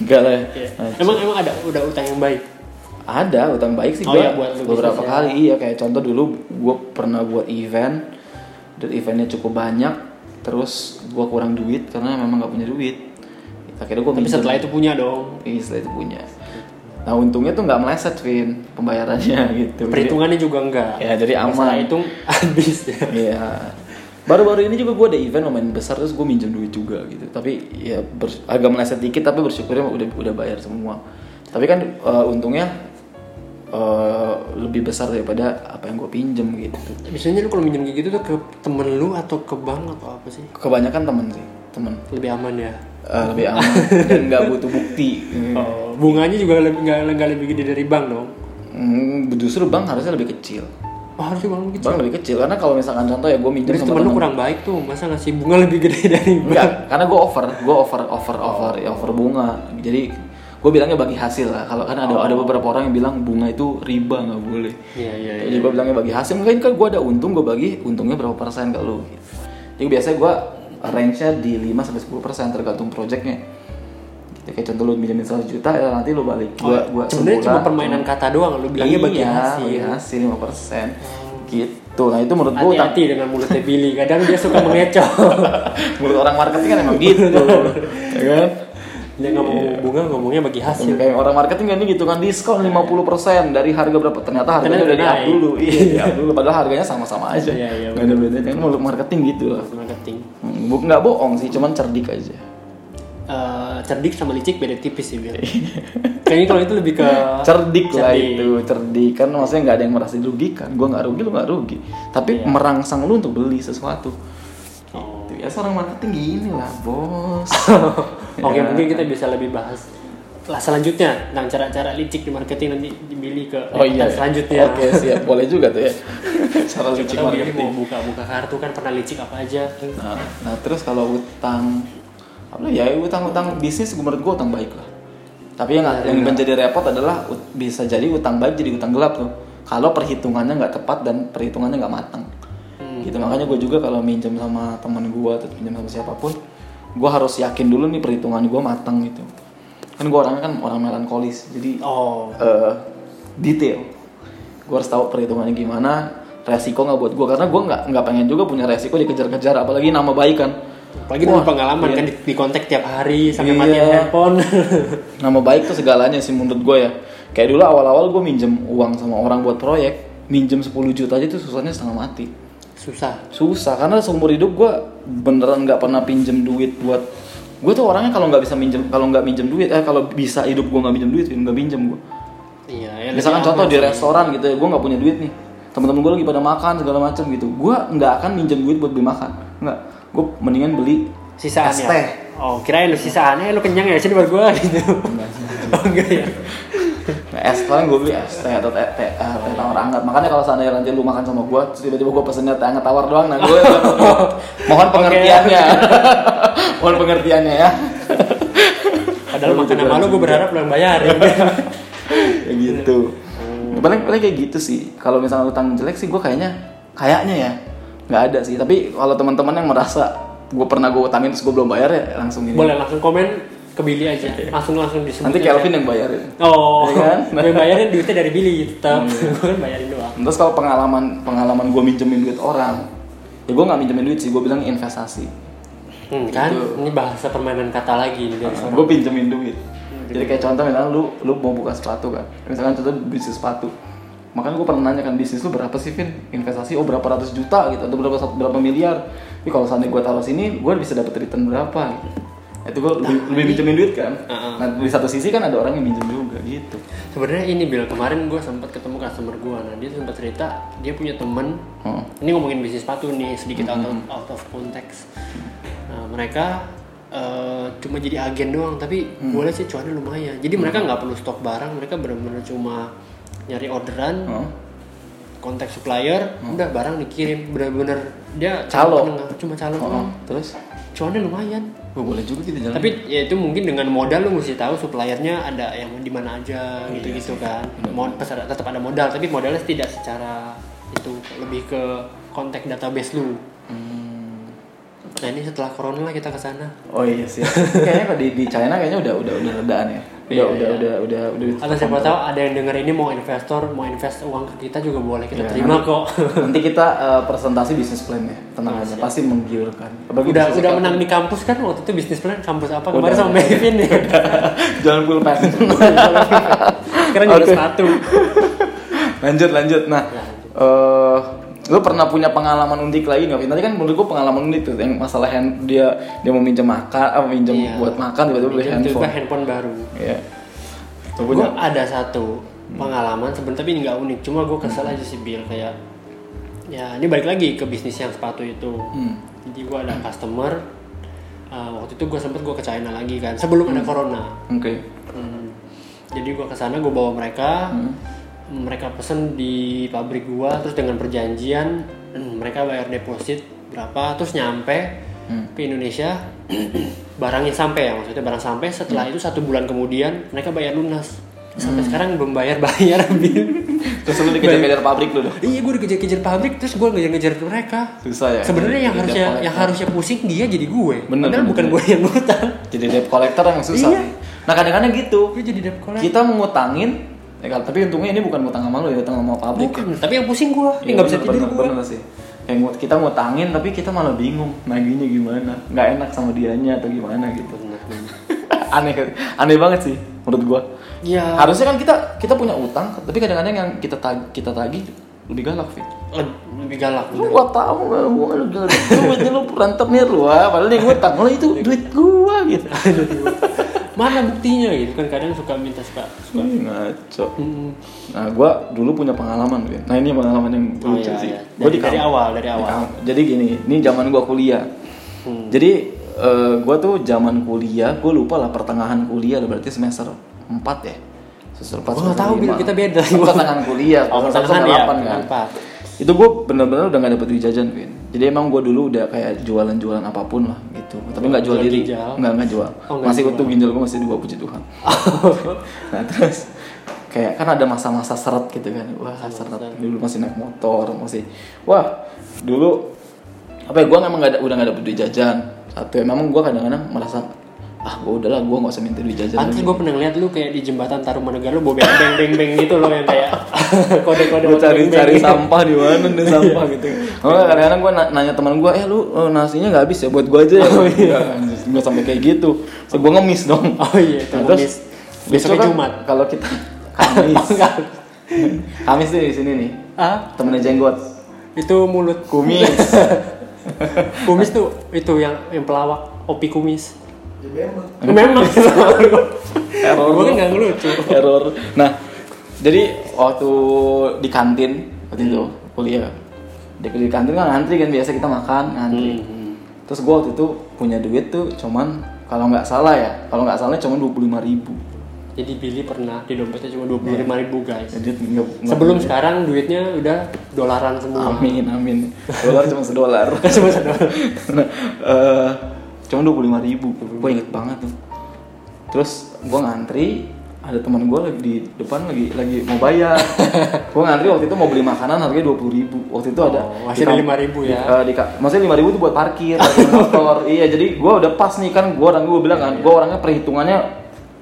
Speaker 2: Enggak lah. ya.
Speaker 1: Iya.
Speaker 2: Nah,
Speaker 1: emang emang ada udah utang yang baik
Speaker 2: Ada utang baik sih
Speaker 1: Oh,
Speaker 2: gua
Speaker 1: iya, buat lu
Speaker 2: beberapa
Speaker 1: bisnis ya.
Speaker 2: kali iya kayak contoh dulu gue pernah buat event dan eventnya cukup banyak terus gue kurang duit karena memang nggak punya duit akhirnya gue
Speaker 1: tapi setelah itu punya dong
Speaker 2: iya, setelah itu punya nah untungnya tuh nggak meleset Vin
Speaker 1: Iya.
Speaker 2: pembayarannya (laughs) gitu Jadi-
Speaker 1: perhitungannya juga enggak (laughs)
Speaker 2: ya jadi aman
Speaker 1: setelah hitung habis ya
Speaker 2: Iya. Baru-baru ini juga gue ada event lumayan besar terus gue minjem duit juga gitu. Tapi ya bers- agak meleset dikit tapi bersyukurnya udah udah bayar semua. Tapi kan eh, untungnya eh, lebih besar daripada apa yang gue pinjem gitu.
Speaker 1: Biasanya lu kalau minjem kayak gitu tuh ke temen lu atau ke bank atau apa sih?
Speaker 2: Kebanyakan temen sih, temen
Speaker 1: Lebih aman ya.
Speaker 2: Eh, lebih aman dan nggak butuh bukti.
Speaker 1: Oh, bunganya juga lebih nggak nggak lebih gede dari bank dong.
Speaker 2: Hmm, justru bank harusnya lebih kecil.
Speaker 1: Oh, harusnya bank gitu.
Speaker 2: Bank lebih kecil karena kalau misalkan contoh ya gue minjem
Speaker 1: Berarti
Speaker 2: sama
Speaker 1: temen lu
Speaker 2: temen-
Speaker 1: kurang baik tuh, masa ngasih bunga lebih gede dari bank?
Speaker 2: Enggak, Iya, karena gue over, gue over, over, over, ya over bunga. Jadi gue bilangnya bagi hasil lah. Kalau kan ada ada
Speaker 1: Oh.
Speaker 2: beberapa orang yang bilang bunga itu riba nggak boleh.
Speaker 1: Iya, iya,
Speaker 2: Jadi gue bilangnya bagi hasil. Mungkin kan gue ada untung, gue bagi untungnya berapa persen ke lu. Gitu. Jadi biasanya gue range-nya di 5 sampai 10 persen tergantung projectnya. Gitu. Kayak contoh lu minjemin 100 juta, ya nanti lu balik. Gue
Speaker 1: Oh,
Speaker 2: gua
Speaker 1: iya. Sebenarnya cuma
Speaker 2: sebulan-
Speaker 1: permainan kata doang, lu bilangnya bagi
Speaker 2: Iya,
Speaker 1: hasil.
Speaker 2: bagi hasil 5 persen. Gitu. Nah itu menurut gue
Speaker 1: Hati-hati dengan mulutnya Billy, kadang dia suka
Speaker 2: (laughs)
Speaker 1: mengecoh.
Speaker 2: mulut orang marketing kan emang gitu.
Speaker 1: (laughs)
Speaker 2: ya kan?
Speaker 1: Dia nggak ngomong bunga, ngomongnya bagi hasil.
Speaker 2: Kayak orang marketing kan ini gitu kan diskon 50% dari harga berapa ternyata harganya
Speaker 1: Iya, Ternyata
Speaker 2: udah di up
Speaker 1: naik.
Speaker 2: dulu. Iya, di up dulu padahal harganya sama-sama aja.
Speaker 1: Iya, iya,
Speaker 2: Nggak ada bedanya kan mulut marketing gitu lah.
Speaker 1: Marketing.
Speaker 2: Hmm, Bu nggak bohong sih, cuman cerdik aja.
Speaker 1: Eh, cerdik sama licik beda tipis sih Bil.
Speaker 2: Iya.
Speaker 1: Kayaknya kalau itu lebih ke
Speaker 2: Cerdik, lah
Speaker 1: Cerdik.
Speaker 2: itu, cerdik kan maksudnya nggak ada yang merasa dirugikan. Gua nggak rugi, lu nggak rugi. Tapi merangsang lu untuk beli sesuatu.
Speaker 1: Iya. Oh.
Speaker 2: Itu biasa orang marketing gini lah,
Speaker 1: (laughs)
Speaker 2: bos.
Speaker 1: Oke,
Speaker 2: Iya.
Speaker 1: mungkin kita bisa lebih bahas lah selanjutnya tentang cara-cara licik di marketing nanti dibeli ke liputan selanjutnya.
Speaker 2: Oh, iya, Oke, siap. ya. (laughs) Boleh juga
Speaker 1: (laughs)
Speaker 2: tuh ya.
Speaker 1: iya.
Speaker 2: Cara
Speaker 1: Siapa
Speaker 2: licik
Speaker 1: tahu Billy
Speaker 2: marketing.
Speaker 1: mau buka-buka kartu kan pernah licik apa aja.
Speaker 2: Nah, nah, terus kalau utang apa ya utang utang bisnis menurut gue utang baik lah. Tapi yang yang menjadi repot adalah ut- bisa jadi utang baik jadi utang gelap tuh. Kalau perhitungannya nggak tepat dan perhitungannya nggak matang. Gitu makanya gue juga kalau minjem sama teman gue atau pinjam sama siapapun, gue harus yakin dulu nih perhitungan gue matang gitu. Kan gue orangnya kan orang melankolis, jadi
Speaker 1: Oh,
Speaker 2: eh, detail gue harus tahu perhitungannya gimana resiko nggak buat gue karena gue nggak nggak pengen juga punya resiko dikejar-kejar apalagi nama baik kan
Speaker 1: apalagi dengan pengalaman kan di, di kontak tiap hari sampai
Speaker 2: Iya.
Speaker 1: matiin handphone. (laughs)
Speaker 2: nama baik tuh segalanya sih menurut gue ya kayak dulu awal-awal gue minjem uang sama orang buat proyek minjem 10 juta aja tuh susahnya setengah mati
Speaker 1: Susah.
Speaker 2: susah karena seumur hidup gue beneran nggak pernah pinjem duit buat gue tuh orangnya kalau nggak bisa minjem kalau nggak minjem duit eh kalau bisa hidup gue nggak minjem duit nggak minjem gue
Speaker 1: Iya, ya,
Speaker 2: Ya,
Speaker 1: lebih
Speaker 2: misalkan
Speaker 1: aman
Speaker 2: contoh di
Speaker 1: sih.
Speaker 2: restoran gitu ya gue nggak punya duit nih teman-teman gue lagi pada makan segala macam gitu gue nggak akan minjem duit buat beli makan nggak gue mendingan beli
Speaker 1: sisaan
Speaker 2: es
Speaker 1: ya?
Speaker 2: teh.
Speaker 1: Oh, kirain lu sisaan, eh lu kenyang ya sini buat gua gitu. (laughs) oh, enggak ya.
Speaker 2: nah, es paling gue beli es teh atau teh teh, eh, teh tawar hangat makanya kalau seandainya nanti lu makan sama gue terus tiba-tiba gue pesennya teh hangat tawar doang nah gue mohon pengertiannya (laughs) mohon pengertiannya ya
Speaker 1: Padahal makan sama lu gua berharap lu yang bayarin.
Speaker 2: ya gitu paling paling kayak gitu sih kalau misalnya utang jelek sih gue kayaknya kayaknya ya nggak ada sih tapi kalau teman-teman yang merasa gue pernah gue utangin terus gue belum bayar ya langsung ini
Speaker 1: (laughs) Boleh langsung komen ke Billy aja. Langsung langsung disebut.
Speaker 2: nanti
Speaker 1: aja.
Speaker 2: Kelvin yang bayarin
Speaker 1: Oh,
Speaker 2: Ya kan?
Speaker 1: (laughs) yang bayarin duitnya dari Billy tetap. (laughs) Gua kan bayarin doang.
Speaker 2: terus kalau pengalaman pengalaman gue minjemin duit orang ya gue nggak minjemin duit sih gue bilang investasi
Speaker 1: Hmm, kan? Ini bahasa permainan kata lagi nih dari
Speaker 2: gue pinjemin duit jadi kayak contoh misalnya lu lu mau buka sepatu kan misalkan contoh bisnis sepatu makanya gue pernah nanya kan bisnis lu berapa sih Vin investasi oh berapa ratus juta gitu atau berapa berapa miliar tapi kalau seandainya gue taruh sini gue bisa dapat return berapa gitu itu gue lebih, lebih minjemin duit kan nah di satu sisi kan ada orang yang minjem juga gitu
Speaker 1: Sebenarnya ini Bil, kemarin gue sempat ketemu customer gue, nah dia sempat cerita dia punya temen,
Speaker 2: Hmm.
Speaker 1: ini ngomongin bisnis sepatu nih sedikit out of,
Speaker 2: Mm-hmm.
Speaker 1: out of context. Nah, mereka eh, cuma jadi agen doang, tapi
Speaker 2: Mm.
Speaker 1: boleh sih cuannya lumayan. Jadi mereka nggak perlu stok barang, mereka benar-benar cuma nyari orderan,
Speaker 2: Heeh.
Speaker 1: kontak supplier, udah barang dikirim, benar-benar dia
Speaker 2: Oh. Calo.
Speaker 1: cuma penengah, cuma calo
Speaker 2: Oh,
Speaker 1: doang.
Speaker 2: terus
Speaker 1: Cuannya lumayan.
Speaker 2: gue boleh juga gitu jalan
Speaker 1: Tapi ya itu mungkin dengan modal lu mesti tahu suppliernya ada yang di mana aja
Speaker 2: Oh, iya
Speaker 1: gitu-gitu kan. Mod pesan- tetap ada modal, tapi modalnya tidak secara itu lebih ke kontak database lu. Nah ini setelah corona lah kita ke sana.
Speaker 2: oh iya sih (laughs) kayaknya kalau di, di China kayaknya udah udah udah redaan ya udah
Speaker 1: Iya,
Speaker 2: udah,
Speaker 1: iya.
Speaker 2: udah udah udah
Speaker 1: Atau siapa tahu ada yang denger ini mau investor, mau invest uang ke kita juga boleh kita
Speaker 2: Iya,
Speaker 1: terima kok.
Speaker 2: nanti kita eh, presentasi bisnis plan ya tenang aja pasti menggiurkan Apalagi
Speaker 1: Iya, (laughs) udah
Speaker 2: bisnis
Speaker 1: udah
Speaker 2: kita- (laughs)
Speaker 1: menang di kampus kan waktu itu bisnis plan kampus apa
Speaker 2: Udah,
Speaker 1: kemarin sama
Speaker 2: (laughs) udah.
Speaker 1: Melvin ya.
Speaker 2: jalan pulpen
Speaker 1: (laughs) Sekarang juga
Speaker 2: Oke.
Speaker 1: satu.
Speaker 2: lanjut lanjut nah
Speaker 1: Iya, Lanjut.
Speaker 2: eh Lu pernah punya pengalaman unik lagi nggak? Tadi kan menurut gua pengalaman unik tuh yang masalah hand dia dia mau minjem makan, ah, minjem
Speaker 1: Iya.
Speaker 2: buat makan tiba-tiba beli
Speaker 1: Jadi
Speaker 2: handphone.
Speaker 1: tiba-tiba handphone baru
Speaker 2: Iya. Lu
Speaker 1: gue
Speaker 2: punya? Hmm.
Speaker 1: ada satu pengalaman sebentar tapi nggak unik cuma gue kesel aja sih Bill kayak ya ini balik lagi ke bisnis yang sepatu itu
Speaker 2: Hmm.
Speaker 1: jadi gue ada customer uh, waktu itu gue sempet gue ke China lagi kan sebelum ada corona
Speaker 2: Oke.
Speaker 1: Hmm. jadi gue kesana gue bawa mereka
Speaker 2: Hmm.
Speaker 1: mereka pesen di pabrik gue terus dengan perjanjian hmm, mereka bayar deposit berapa terus nyampe
Speaker 2: Hmm.
Speaker 1: ke Indonesia (clears throat) barangnya sampai ya maksudnya barang sampai setelah
Speaker 2: Hmm.
Speaker 1: itu satu bulan kemudian mereka bayar lunas sampai sekarang belum bayar (laughs) bayar
Speaker 2: Terus lu dikejar-kejar pabrik lu dong.
Speaker 1: iya gue dikejar-kejar pabrik terus gue ngejar-ngejar mereka
Speaker 2: Susah ya.
Speaker 1: sebenarnya yang
Speaker 2: Jadi
Speaker 1: harusnya
Speaker 2: debt collector.
Speaker 1: yang harusnya pusing dia jadi gue
Speaker 2: Bener,
Speaker 1: padahal
Speaker 2: bener,
Speaker 1: bukan
Speaker 2: bener.
Speaker 1: gue yang ngutang
Speaker 2: jadi debt collector yang susah.
Speaker 1: Iya.
Speaker 2: nih. Nah kadang-kadang gitu.
Speaker 1: gue jadi debt collector
Speaker 2: Kita mengutangin, ya, kan, tapi untungnya ini bukan ngutang sama lu, ya utang sama pabrik.
Speaker 1: Bukan, tapi yang pusing gua,
Speaker 2: Iya,
Speaker 1: ini nggak bisa
Speaker 2: bener,
Speaker 1: tidur
Speaker 2: bener,
Speaker 1: gua.
Speaker 2: bener sih. Kayak ngut- kita ngutangin tapi kita malah bingung naginya gimana, nggak enak sama dianya atau gimana gitu. (laughs) aneh kan? aneh banget sih menurut gua.
Speaker 1: Ya,
Speaker 2: Harusnya kan kita kita punya utang, tapi kadang-kadang yang kita tag- kita tagih lebih galak, Fit.
Speaker 1: le- lebih galak.
Speaker 2: Lu gua tahu gua gua lu galak. Duitnya lu berantem nih lu, ah. padahal dia ngutang. Lu itu duit gua gitu. (laughs)
Speaker 1: Mana buktinya gitu kan kadang suka minta suka. suka.
Speaker 2: Ih, Ngaco.
Speaker 1: Hmm.
Speaker 2: Nah, gua dulu punya pengalaman, Win. Nah, ini pengalaman yang
Speaker 1: Oh,
Speaker 2: lucu
Speaker 1: iya,
Speaker 2: sih.
Speaker 1: iya.
Speaker 2: Gua
Speaker 1: Dari-
Speaker 2: di kamp-
Speaker 1: dari awal, dari
Speaker 2: di
Speaker 1: awal. Hmm.
Speaker 2: kamp- Jadi gini, ini zaman gua kuliah. Jadi eh, gua tuh zaman kuliah, gua lupa lah pertengahan kuliah, berarti semester 4 ya. Semester 4.
Speaker 1: Gua nggak tahu, Bil, kita beda.
Speaker 2: Pertengahan kuliah,
Speaker 1: Oh,
Speaker 2: semester
Speaker 1: pertengahan ya,
Speaker 2: 8 kan.
Speaker 1: empat.
Speaker 2: Itu gue bener-bener udah gak dapet duit jajan, Win. Jadi emang gue dulu udah kayak jualan-jualan apapun lah gitu. Tapi nggak jual
Speaker 1: Jual
Speaker 2: diri,
Speaker 1: ginjal.
Speaker 2: nggak nggak jual.
Speaker 1: Oh, nggak
Speaker 2: masih
Speaker 1: jual.
Speaker 2: utuh ginjal gue masih dua puji Tuhan. nah terus kayak kan ada masa-masa seret gitu kan. Wah seret dulu masih naik motor masih. Wah dulu apa ya gue emang nggak ada- udah gak dapet duit jajan. Satu emang gue kadang-kadang merasa ah gue udahlah gue nggak usah minta duit jajan.
Speaker 1: Pantes
Speaker 2: lagi."
Speaker 1: gua pernah ngeliat lu kayak di jembatan Tarumanegara lu bawa beng beng beng beng gitu loh yang kayak (laughs) kode-kode gitu.
Speaker 2: gue cari
Speaker 1: beng-beng.
Speaker 2: cari sampah di mana nih sampah gitu oh kadang-kadang gue nanya teman gue eh lu eh, nasinya nggak habis ya buat gue aja ya nggak sampai kayak gitu so, gue ngemis dong
Speaker 1: Oh iya, itu
Speaker 2: Nah,
Speaker 1: ngemis.
Speaker 2: besok
Speaker 1: Besoknya
Speaker 2: kan
Speaker 1: Jumat.
Speaker 2: kalau kita kamis kamis tuh di sini nih
Speaker 1: Ah,
Speaker 2: temennya jenggot
Speaker 1: itu mulut
Speaker 2: kumis
Speaker 1: (laughs) kumis tuh itu yang yang pelawak opi kumis.
Speaker 2: Memang.
Speaker 1: Memang.
Speaker 2: (laughs) Error.
Speaker 1: Gua kan nggak ngelucu.
Speaker 2: (laughs) error nah jadi waktu di kantin waktu itu kuliah di, di kantin kan ngantri kan biasa kita makan ngantri terus gue waktu itu punya duit tuh cuman kalau nggak salah ya kalau nggak salah cuman dua ribu
Speaker 1: Jadi Billy pernah di dompetnya cuma 25.000 ribu guys.
Speaker 2: jadi nggak- nggak-
Speaker 1: Sebelum sekarang duitnya udah dolaran semua.
Speaker 2: amin amin dolar cuma sedolar
Speaker 1: Cuma sedolar.
Speaker 2: nah, (laughs) eh, cuma dua ribu gue inget banget tuh terus gue ngantri ada teman gue lagi di depan lagi lagi mau
Speaker 1: (laughs)
Speaker 2: bayar gue ngantri waktu itu mau beli makanan harganya dua ribu waktu itu ada
Speaker 1: Oh, masih ada 5.000 ya.
Speaker 2: Eh, di ka- maksudnya lima ribu itu buat parkir, parkir
Speaker 1: (laughs)
Speaker 2: motor. iya, jadi gue udah pas nih kan, gue orang gue bilang
Speaker 1: Iya,
Speaker 2: kan, gue orangnya perhitungannya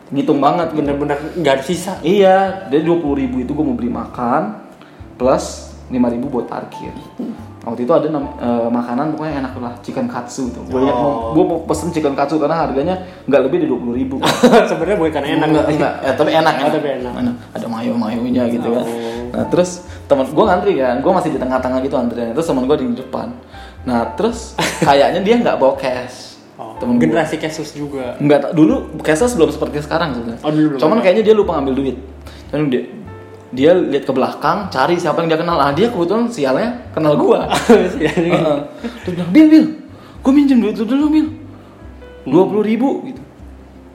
Speaker 2: ngitung banget gitu.
Speaker 1: Bener-bener nggak ada sisa. (laughs)
Speaker 2: Iya, dia dua puluh ribu itu gue mau beli makan, plus lima ribu buat parkir. Waktu itu ada nam- eh, makanan pokoknya enak lah, chicken katsu tuh. Gue
Speaker 1: Oh.
Speaker 2: mau, pesen chicken katsu karena harganya nggak lebih dari dua puluh ribu.
Speaker 1: Sebenarnya bukan enak.
Speaker 2: enggak, enggak. Eh, tapi enak,
Speaker 1: Oh,
Speaker 2: enak.
Speaker 1: tapi enak.
Speaker 2: Ada mayo mayonya gitu kan.
Speaker 1: Oh.
Speaker 2: Nah terus teman gue ngantri kan, gue masih di tengah-tengah gitu antriannya. Terus teman gue di depan. Nah terus kayaknya dia nggak bawa cash.
Speaker 1: Oh,
Speaker 2: Temen gue.
Speaker 1: generasi kasus juga.
Speaker 2: Enggak, tak- dulu cashless belum seperti sekarang sebenarnya.
Speaker 1: Oh, dulu belum
Speaker 2: Cuman
Speaker 1: ada.
Speaker 2: kayaknya dia lupa ngambil duit. Dan dia dia lihat ke belakang, cari siapa yang dia kenal. Ah, dia kebetulan sialnya kenal
Speaker 1: (laughs)
Speaker 2: gua. Heeh. Dia bilang, Bil, Bil, gue minjem duit lu dulu, Bil.
Speaker 1: Hmm.
Speaker 2: Dua puluh ribu, gitu.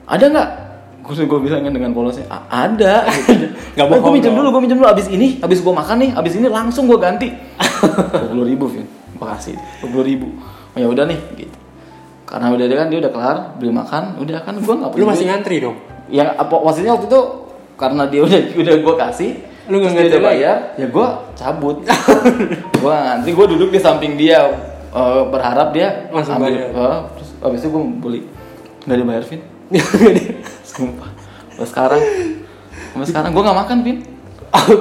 Speaker 2: Ada nggak? Gue gue bilang kan dengan polosnya, "A- ada. Gitu.
Speaker 1: (laughs) Nggak
Speaker 2: gue
Speaker 1: bohong
Speaker 2: minjem
Speaker 1: dong.
Speaker 2: dulu, gue minjem dulu. Abis ini, abis gue makan nih, abis ini langsung gue ganti. Dua puluh ribu, Vin. Makasih. Dua puluh ribu. Oh, ya udah nih, gitu. Karena udah dia kan dia udah kelar beli makan, udah kan gue nggak
Speaker 1: Lu
Speaker 2: punya.
Speaker 1: masih
Speaker 2: duit.
Speaker 1: ngantri dong. (laughs)
Speaker 2: Yang apa maksudnya waktu itu karena dia udah (laughs) udah gue kasih,
Speaker 1: Lu nggak
Speaker 2: terus dia
Speaker 1: ngerti
Speaker 2: udah
Speaker 1: lagi?
Speaker 2: bayar, ya gue (laughs) cabut. gue ngantri, gue duduk di samping dia eh, berharap dia
Speaker 1: Langsung
Speaker 2: ambil,
Speaker 1: bayar.
Speaker 2: eh, terus abis itu gue beli nggak dibayar Vin, sumpah. Sampai sekarang, (laughs) sampai sekarang gue nggak makan Vin.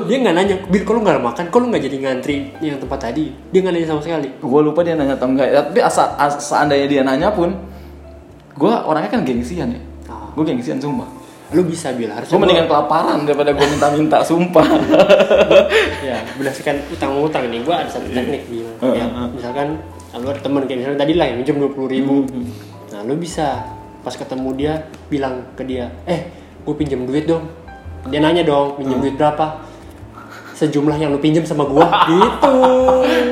Speaker 1: dia nggak nanya, Bil, kalau nggak makan, kalau nggak jadi ngantri yang tempat tadi, dia nggak nanya sama sekali.
Speaker 2: gue lupa dia nanya atau enggak ya, tapi asa, as- seandainya dia nanya pun gue orangnya kan gengsian ya
Speaker 1: Ah.
Speaker 2: gue gengsian sumpah
Speaker 1: lu bisa bil harusnya
Speaker 2: Gue mendingan kelaparan daripada gue minta-minta, sumpah.
Speaker 1: ya berdasarkan utang utang nih gue ada satu
Speaker 2: Iya.
Speaker 1: teknik bil ya, misalkan nah, lu ada temen kayak misalnya tadi lah yang minjem dua puluh ribu
Speaker 2: Hmm,
Speaker 1: nah lu bisa pas ketemu dia bilang ke dia eh gue pinjem duit dong dia nanya dong pinjem duit berapa sejumlah yang lu pinjem sama
Speaker 2: (laughs)
Speaker 1: gue gitu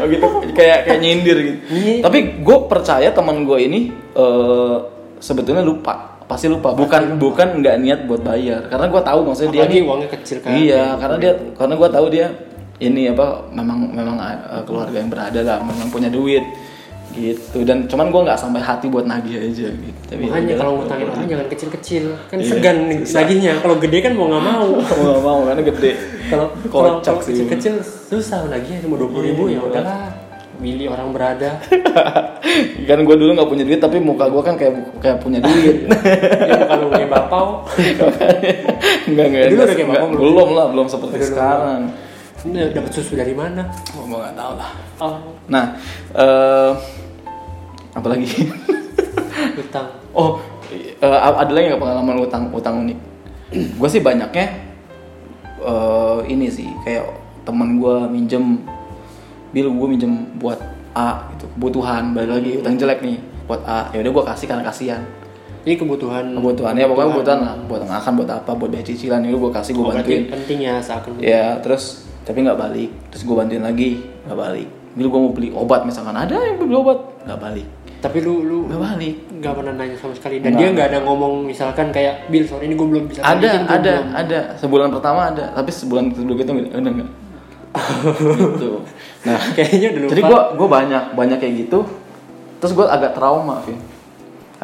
Speaker 2: Oh gitu kayak kayak nyindir gitu.
Speaker 1: Iya.
Speaker 2: Tapi gue percaya teman gue ini eh, sebetulnya lupa, pasti lupa. Bukan bukan nggak niat buat bayar. Karena gue tahu maksudnya dia
Speaker 1: apalagi
Speaker 2: nih-
Speaker 1: uangnya kecil kan
Speaker 2: Iya, karena dia karena gue tahu dia ini apa memang memang eh, keluarga yang berada lah, memang punya duit gitu. Dan cuman gue nggak sampai hati buat nagih aja gitu. Tapi
Speaker 1: Makanya
Speaker 2: udahlah,
Speaker 1: kalau
Speaker 2: gua-
Speaker 1: ngutangin orang jangan kecil-kecil, kan
Speaker 2: Iya,
Speaker 1: segan nagihnya. Kalau gede kan mau nggak mau.
Speaker 2: Gua nggak mau karena gede.
Speaker 1: Kalau kalau
Speaker 2: Kocak
Speaker 1: kalau
Speaker 2: sih. Iya.
Speaker 1: kecil-kecil susah nagihnya cuma dua puluh ribu ya udahlah. Milih orang berada.
Speaker 2: kan gue dulu nggak punya duit tapi muka gue kan kayak kayak punya
Speaker 1: (laughs)
Speaker 2: duit.
Speaker 1: ya kalau kayak bapau.
Speaker 2: Enggak, enggak,
Speaker 1: Dulu
Speaker 2: enggak,
Speaker 1: udah kayak
Speaker 2: enggak.
Speaker 1: bapak belum?
Speaker 2: belum lah, belum seperti
Speaker 1: Udah, udah,
Speaker 2: sekarang.
Speaker 1: Ini dapat susu dari mana?
Speaker 2: Gua gua nggak tahu lah.
Speaker 1: Oh,
Speaker 2: Nah, eh apa lagi? (laughs)
Speaker 1: utang.
Speaker 2: oh, eh, ada lagi nggak pengalaman utang utang unik? gue sih banyaknya eh ini sih kayak teman gue minjem bil gue minjem buat A gitu kebutuhan balik lagi utang jelek nih buat A ya udah gue kasih karena kasihan
Speaker 1: Ini kebutuhan.
Speaker 2: kebutuhan ya pokoknya kebutuhan lah buat makan buat apa buat bayar cicilan itu gue kasih gue
Speaker 1: Oh,
Speaker 2: bantuin
Speaker 1: berarti penting ya seakan.
Speaker 2: ya terus tapi nggak balik terus gue bantuin lagi nggak balik Bil gue mau beli obat misalkan ada yang beli obat nggak balik
Speaker 1: Tapi lu lu
Speaker 2: nggak balik
Speaker 1: nggak pernah nanya sama sekali dan dia nggak ada ngomong misalkan kayak Bill sorry ini gue belum bisa
Speaker 2: ada
Speaker 1: nagih, gua
Speaker 2: ada
Speaker 1: belum."
Speaker 2: ada sebulan pertama ada tapi sebulan kedua gitu nggak udah nggak gitu nah
Speaker 1: (laughs) kayaknya udah lupa
Speaker 2: jadi gue gue banyak banyak kayak gitu terus gue agak trauma Vin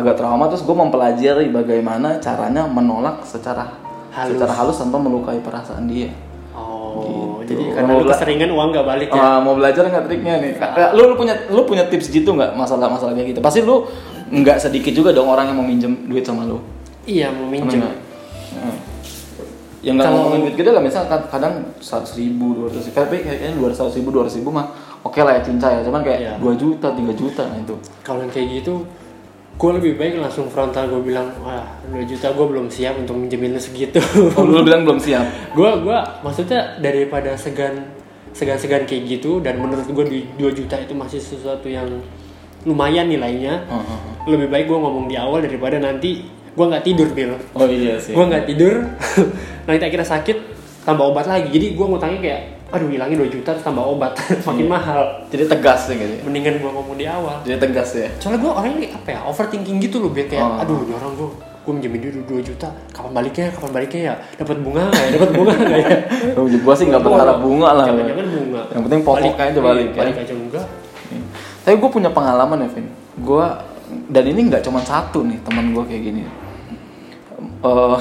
Speaker 2: agak trauma terus gue mempelajari bagaimana caranya menolak secara
Speaker 1: Halus.
Speaker 2: secara halus tanpa melukai perasaan dia
Speaker 1: oh
Speaker 2: Gitu.
Speaker 1: jadi karena lu
Speaker 2: Orang-
Speaker 1: keseringan uang nggak balik ya
Speaker 2: Ah, mau belajar nggak triknya nih? Kayak Lu, lu punya lu punya tips gitu nggak masalah-masalah kayak gitu? Pasti lu nggak sedikit juga dong orang yang mau minjem duit sama lu.
Speaker 1: Iya mau minjem.
Speaker 2: Bener nggak? Heeh. Ya, Yang nggak
Speaker 1: Kalau-
Speaker 2: ngomongin duit gede lah, misalnya kad- kadang seratus ribu, dua ratus ribu, tapi kayaknya dua ratus ribu, dua ratus ribu mah oke lah ya cincay ya, cuman kayak
Speaker 1: Iya.
Speaker 2: 2 juta, 3 juta nah itu.
Speaker 1: Kalau yang kayak gitu, gue lebih baik langsung frontal gue bilang, wah 2 juta gue belum siap untuk minjemin lu segitu. (laughs)
Speaker 2: Oh, lu bilang belum siap.
Speaker 1: Gue gue maksudnya daripada segan segan-segan kayak gitu dan menurut gue 2 juta itu masih sesuatu yang lumayan nilainya.
Speaker 2: Heeh, heeh.
Speaker 1: Lebih baik gue ngomong di awal daripada nanti gue nggak tidur bil.
Speaker 2: Oh iya sih.
Speaker 1: Gue nggak tidur, (laughs) nanti akhirnya sakit tambah obat lagi. Jadi gue ngutangnya kayak, aduh hilangin 2 juta terus tambah obat (laughs) makin mahal.
Speaker 2: Jadi tegas ya gitu. ya.
Speaker 1: Mendingan gue ngomong di awal.
Speaker 2: Jadi tegas ya.
Speaker 1: soalnya gue orangnya apa ya overthinking gitu loh Bek. kayak
Speaker 2: Oh.
Speaker 1: aduh ini orang gue gue minjemin duit 2 juta kapan baliknya kapan baliknya ya dapat bunga nggak ya dapat bunga nggak ya
Speaker 2: Gue sih nggak berharap bunga lah.
Speaker 1: Iya. jangan-jangan bunga
Speaker 2: Yang penting pokoknya aja balik,
Speaker 1: iya,
Speaker 2: ya.
Speaker 1: balik aja enggak
Speaker 2: Iya. Tapi gue punya pengalaman ya, Vin. Gue dan ini nggak cuma satu nih teman gue kayak gini. Eh